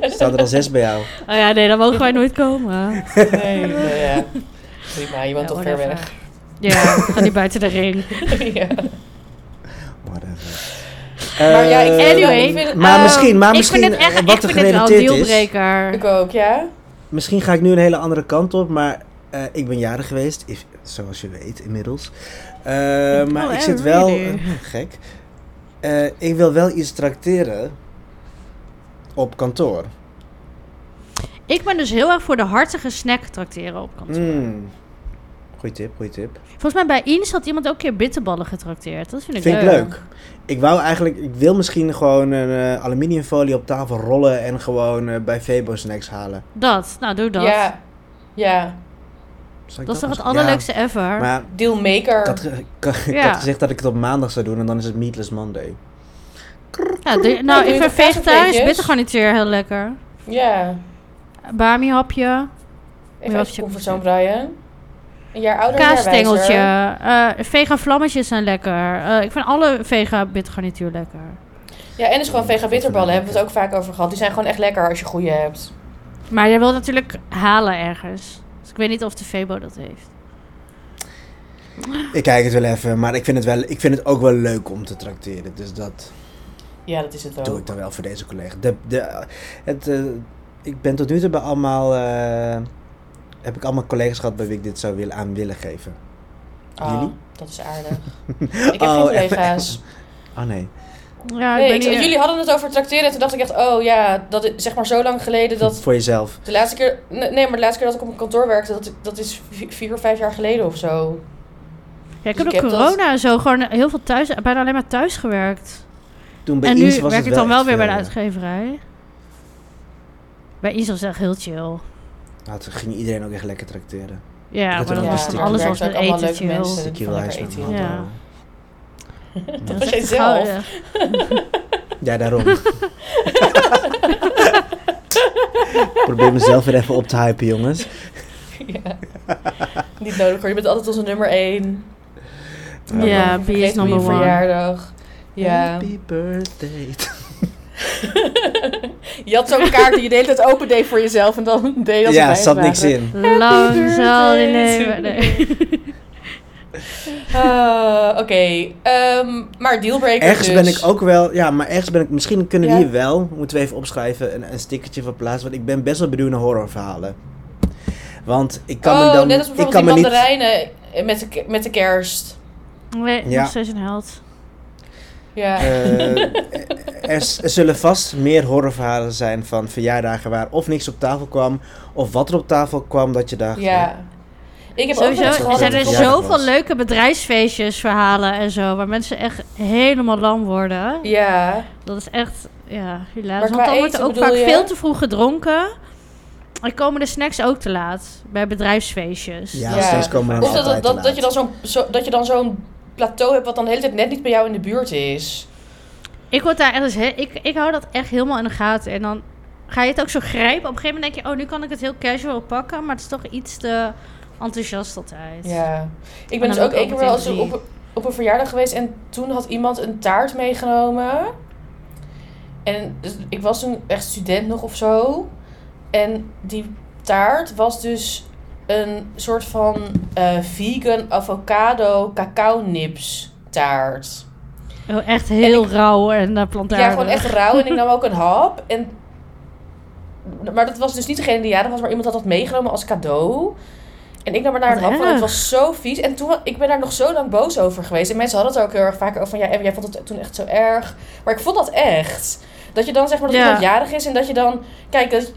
Speaker 2: Er Staat er al zes bij jou.
Speaker 3: Oh ja, nee, dan mogen wij nooit komen.
Speaker 1: Nee, nee, ja. Prima, je woont
Speaker 3: Ja,
Speaker 1: toch ver
Speaker 3: whatever.
Speaker 1: weg.
Speaker 3: Ja, ga niet buiten de ring.
Speaker 2: Eh,
Speaker 1: ja.
Speaker 2: Whatever.
Speaker 1: Maar ja, ik,
Speaker 2: Eh,
Speaker 1: anyway,
Speaker 3: anyway, ehm,
Speaker 1: ik vind het-
Speaker 2: maar
Speaker 1: eh,
Speaker 2: misschien, maar
Speaker 3: ik vind
Speaker 2: misschien
Speaker 3: het echt,
Speaker 2: eh,
Speaker 3: ik
Speaker 2: wat er
Speaker 3: vind het wel een
Speaker 2: gerelateerd is.
Speaker 3: dealbreaker.
Speaker 1: Ik ook, ja.
Speaker 2: Misschien ga ik nu een hele andere kant op, maar eh, ik ben jarig geweest, if- zoals je weet inmiddels. Eh, maar
Speaker 3: Oh,
Speaker 2: ik
Speaker 3: eh,
Speaker 2: zit wel.
Speaker 3: really?
Speaker 2: eh, gek. Eh, ik wil wel iets tracteren op kantoor.
Speaker 3: Ik ben dus heel erg voor de hartige snack tracteren op kantoor.
Speaker 2: Mm. Goeie tip, goeie tip.
Speaker 3: Volgens mij bij Ines had iemand ook een keer bitterballen getrakteerd. Dat vind ik
Speaker 2: Vind ik
Speaker 3: leuk.
Speaker 2: leuk. Ik wou eigenlijk, ik wil misschien gewoon een eh, aluminiumfolie op tafel rollen en gewoon eh, bij Febo snacks halen.
Speaker 3: Dat, nou doe dat.
Speaker 1: Ja. Ja.
Speaker 2: Zal ik
Speaker 3: Dat is toch het
Speaker 2: misschien- Ja,
Speaker 3: allerleukste ever?
Speaker 2: maar
Speaker 1: Dealmaker.
Speaker 2: ik had, ge- ik had- ik
Speaker 3: Ja.
Speaker 2: had gezegd dat ik het op maandag zou doen en dan is het Meatless Monday.
Speaker 3: Ja, doe- nou,
Speaker 1: doe
Speaker 3: ik
Speaker 1: je
Speaker 3: vind
Speaker 1: toch
Speaker 3: vegetarisch
Speaker 1: kaasvleesjes?
Speaker 3: bittergarnituur heel lekker.
Speaker 1: Ja.
Speaker 3: Bami hapje,
Speaker 1: Even uit
Speaker 3: je
Speaker 1: je comfortzone, Brian. Een jaar ouder, een jaar
Speaker 3: kaasstengeltje,
Speaker 1: wijzer.
Speaker 3: eh, vegan vlammetjes zijn lekker. Eh, ik vind alle vegan bittergarnituur lekker.
Speaker 1: Ja, en dus gewoon vega bitterballen. Hebben we het ook vaak over gehad. Die zijn gewoon echt lekker als je goede hebt.
Speaker 3: Maar je wilt natuurlijk halen ergens. Dus ik weet niet of de Febo dat heeft.
Speaker 2: Ik kijk het wel even, maar ik vind het, wel, ik vind het ook wel leuk om te tracteren. Dus dat
Speaker 1: Ja, dat is het
Speaker 2: doe
Speaker 1: ook.
Speaker 2: ik dan wel voor deze collega. De, de, het, eh, ik ben tot nu toe bij allemaal, eh, heb ik allemaal collega's gehad bij wie ik dit zou willen, aan willen geven.
Speaker 1: Ah,
Speaker 2: Jullie?
Speaker 1: dat is aardig. Ik heb
Speaker 2: Oh,
Speaker 1: geen
Speaker 2: echt-
Speaker 1: collega's.
Speaker 2: Oh nee.
Speaker 3: Ja,
Speaker 1: Nee,
Speaker 3: ik
Speaker 1: ik-
Speaker 3: ben hier-
Speaker 1: jullie hadden het over tracteren. En toen dacht ik echt, oh ja, dat is zeg maar zo lang geleden dat...
Speaker 2: Voor jezelf.
Speaker 1: De laatste keer... Nee, maar de laatste keer dat ik op een kantoor werkte, dat, dat is vi- vier of vijf jaar geleden of zo.
Speaker 3: Ja, ik
Speaker 1: Dus
Speaker 3: heb
Speaker 1: ik
Speaker 3: door
Speaker 1: heb dat-
Speaker 3: corona en zo gewoon heel veel thuis, bijna alleen maar thuis gewerkt.
Speaker 2: Toen bij
Speaker 3: en
Speaker 2: Iens
Speaker 3: nu
Speaker 2: was
Speaker 3: werk
Speaker 2: het
Speaker 3: ik dan wel weer bij de
Speaker 2: echt, eh,
Speaker 3: uitgeverij. Bij Ies was het echt heel chill.
Speaker 2: nou, toen ging iedereen ook echt lekker tracteren.
Speaker 3: Ja,
Speaker 2: had
Speaker 3: maar
Speaker 2: er ook
Speaker 3: dat was
Speaker 2: een
Speaker 3: dan
Speaker 2: stukje.
Speaker 3: alles
Speaker 1: Ja,
Speaker 3: was
Speaker 1: het
Speaker 3: met
Speaker 1: werken allemaal
Speaker 3: eten
Speaker 1: leuke
Speaker 3: chill.
Speaker 1: mensen.
Speaker 3: Dat
Speaker 2: Ik
Speaker 1: van
Speaker 2: wil
Speaker 1: lekker
Speaker 2: huis met
Speaker 1: eten,
Speaker 2: mijn
Speaker 3: ja.
Speaker 2: handen.
Speaker 3: was
Speaker 1: was
Speaker 3: echt
Speaker 1: jij zelf?
Speaker 3: gouden.
Speaker 2: eh? Ja, daarom. Ik Probeer mezelf weer even op te hypen, jongens.
Speaker 1: Ja. Niet nodig hoor, je bent altijd onze nummer één.
Speaker 3: Ja, B is
Speaker 1: Vergeet
Speaker 3: number
Speaker 1: me je
Speaker 3: one.
Speaker 1: verjaardag. Ja.
Speaker 2: Happy birthday.
Speaker 1: Je had zo'n kaart die je de hele tijd open deed voor jezelf en dan deed je dat
Speaker 2: ja,
Speaker 1: erbij
Speaker 2: zat niks
Speaker 1: vragen.
Speaker 2: in.
Speaker 3: Lang zal die
Speaker 1: birthday
Speaker 3: leven.
Speaker 1: to
Speaker 3: Nee.
Speaker 1: Ah, Oké, ehm, maar dealbreaker
Speaker 2: Ergens
Speaker 1: dus.
Speaker 2: ben ik ook wel, ja, maar ergens ben ik, misschien kunnen we
Speaker 1: Ja.
Speaker 2: hier wel, moeten we even opschrijven, een, een stickertje van plaatsen, want ik ben best wel benieuwd naar horrorverhalen. Want ik kan
Speaker 1: oh,
Speaker 2: me dan,
Speaker 1: net als
Speaker 2: ik
Speaker 1: bijvoorbeeld
Speaker 2: kan me
Speaker 1: die
Speaker 2: niet,
Speaker 1: mandarijnen eh, met de, met de kerst.
Speaker 3: Nee,
Speaker 2: Ja.
Speaker 3: nog steeds een held.
Speaker 1: Ja.
Speaker 2: Eh, er, s- er zullen vast meer horrorverhalen zijn van verjaardagen waar of niks op tafel kwam, of wat er op tafel kwam dat je dacht. eh,
Speaker 1: ja. Ik heb ook wel eens
Speaker 3: Sowieso
Speaker 1: gehad
Speaker 3: zijn
Speaker 1: dat
Speaker 3: er
Speaker 1: ik op-
Speaker 2: verjaardag
Speaker 3: zoveel
Speaker 2: was.
Speaker 3: leuke bedrijfsfeestjes, verhalen en zo, waar mensen echt helemaal lam worden.
Speaker 1: Ja,
Speaker 3: Dat is echt, ja,
Speaker 1: Maar
Speaker 3: helaas.
Speaker 1: qua
Speaker 3: Want dan wordt er
Speaker 1: eten
Speaker 3: ook
Speaker 1: bedoel
Speaker 3: vaak
Speaker 1: je?
Speaker 3: veel te vroeg gedronken. En komen de snacks ook te laat bij bedrijfsfeestjes.
Speaker 2: Ja,
Speaker 1: Ja.
Speaker 2: steeds komen er
Speaker 1: of dat, dat,
Speaker 2: altijd te
Speaker 1: dat,
Speaker 2: laat.
Speaker 1: dat je dan zo'n zo, dat je dan zo'n plateau hebt wat dan de hele tijd net niet bij jou in de buurt is.
Speaker 3: Ik, word daar echt eens he- ik, ik hou dat echt helemaal in de gaten. En dan ga je het ook zo grijpen. Op een gegeven moment denk je, oh, nu kan ik het heel casual pakken. Maar het is toch iets te enthousiast altijd.
Speaker 1: Ja. Ik ben
Speaker 3: dan
Speaker 1: dus
Speaker 3: wil
Speaker 1: ook
Speaker 3: ik ook
Speaker 1: één keer wel eens
Speaker 3: meteen
Speaker 1: op, op een verjaardag geweest en toen had iemand een taart meegenomen. En dus ik was toen echt student nog of zo. En die taart was dus een soort van eh, vegan avocado cacao nips taart.
Speaker 3: Oh, echt heel rauw en naar plantaardig.
Speaker 1: Ja, gewoon echt rauw. En ik nam ook een hap. En... Maar dat was dus niet degene die jarig was, maar iemand had dat meegenomen als cadeau. En ik nam er daar een
Speaker 3: Wat
Speaker 1: hap van. Het
Speaker 3: erg.
Speaker 1: was zo vies. En toen, ik ben daar nog zo lang boos over geweest. En mensen hadden het er ook heel erg vaak over van... Ja, Em, jij vond het toen echt zo erg. Maar ik vond dat echt. Dat je dan zeg maar dat
Speaker 3: Ja.
Speaker 1: iemand jarig is en dat je dan... Kijk, dat,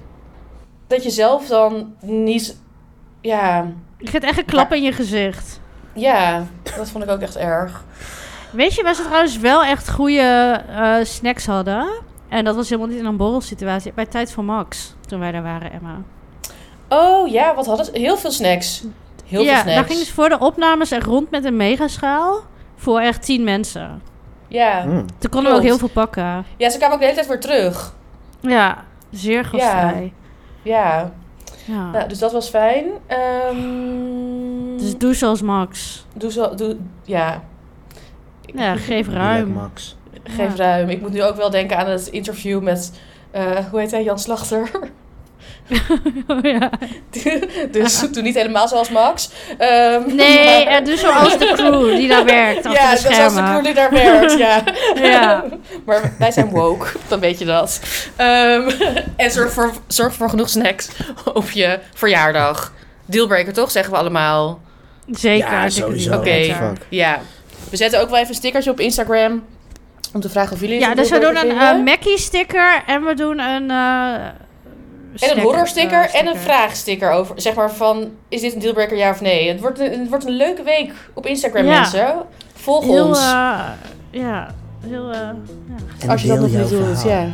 Speaker 1: dat je zelf dan niet... Ja,
Speaker 3: Je krijgt echt een klap in je gezicht.
Speaker 1: ja, dat vond ik ook echt erg.
Speaker 3: Weet je waar ze trouwens wel echt goede eh, snacks hadden? En dat was helemaal niet in een borrelsituatie. Bij Tijd van Max, toen wij daar waren, Emma.
Speaker 1: Oh ja, wat hadden ze? Heel veel snacks. Heel
Speaker 3: ja,
Speaker 1: veel snacks.
Speaker 3: daar gingen ze voor de opnames echt rond met een megaschaal. Voor echt tien mensen.
Speaker 1: Ja.
Speaker 2: Mm.
Speaker 3: Toen konden we
Speaker 1: Klopt.
Speaker 3: ook heel veel pakken.
Speaker 1: ja, ze kwamen ook de hele tijd weer terug.
Speaker 3: Ja, zeer gastvrij.
Speaker 1: Ja,
Speaker 3: Ah. Ja.
Speaker 1: nou, dus dat was fijn. Ehm,
Speaker 3: Dus doe zoals Max.
Speaker 1: doe zo, doe, ja. Ik-
Speaker 3: Ja, geef
Speaker 2: Lekker,
Speaker 3: ruim.
Speaker 2: Max.
Speaker 1: Geef
Speaker 3: ja.
Speaker 1: ruim. Ik moet nu ook wel denken aan het interview met, eh, hoe heet hij, Jan Slachter.
Speaker 3: Oh, ja.
Speaker 1: dus doe niet helemaal zoals Max. Ehm,
Speaker 3: Ah. Nee,
Speaker 1: maar-
Speaker 3: en doe zoals de crew die daar werkt. Achter
Speaker 1: ja, dat
Speaker 3: de
Speaker 1: was de
Speaker 3: schermen.
Speaker 1: crew die daar werkt, ja.
Speaker 3: Ja.
Speaker 1: maar wij zijn woke, dan weet je dat. Ehm, en zorg voor, zorg voor genoeg snacks op je verjaardag. Dealbreaker toch, zeggen we allemaal.
Speaker 3: Zeker.
Speaker 2: Ja,
Speaker 3: als ik het
Speaker 2: sowieso.
Speaker 3: niet
Speaker 1: Oké,
Speaker 2: what the
Speaker 3: weet.
Speaker 2: fuck.
Speaker 1: ja. We zetten ook wel even een stickertje op Instagram. Om te vragen of jullie het
Speaker 3: Ja,
Speaker 1: een
Speaker 3: dus we doen
Speaker 1: dealbreaker
Speaker 3: een
Speaker 1: vinden.
Speaker 3: eh Mackie-sticker en we doen een... eh
Speaker 1: En een horror-sticker
Speaker 3: eh,
Speaker 1: en een vraagsticker over. Zeg maar van, is dit een dealbreaker ja of nee? Het wordt een, het wordt een leuke week op Instagram,
Speaker 3: Ja.
Speaker 1: mensen. Volg
Speaker 3: Heel,
Speaker 1: ons.
Speaker 3: eh, ja, heel... eh, ja.
Speaker 2: En
Speaker 1: als je dat
Speaker 2: deel
Speaker 1: nog niet
Speaker 2: jouw
Speaker 1: doet,
Speaker 2: verhaal.
Speaker 1: ja.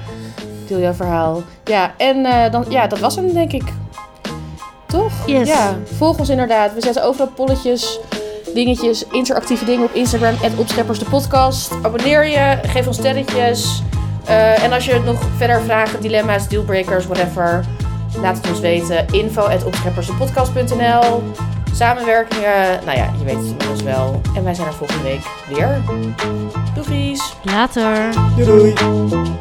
Speaker 1: Deel jouw verhaal. Ja, en eh, dan, ja, dat was hem, denk ik. Toch?
Speaker 3: Yes.
Speaker 1: Ja, volg ons inderdaad. We zetten overal polletjes, dingetjes, interactieve dingen op Instagram. En Opscheppers de podcast. Abonneer je, geef ons sterretjes. Eh, en als je nog verder vragen, dilemma's, dealbreakers, whatever... Laat het ons weten. Info at opscheppersdepodcast.nl Samenwerkingen, nou ja, je weet het inmiddels wel. En wij zijn er volgende week weer. Doegies!
Speaker 3: Later.
Speaker 2: Doei, doei.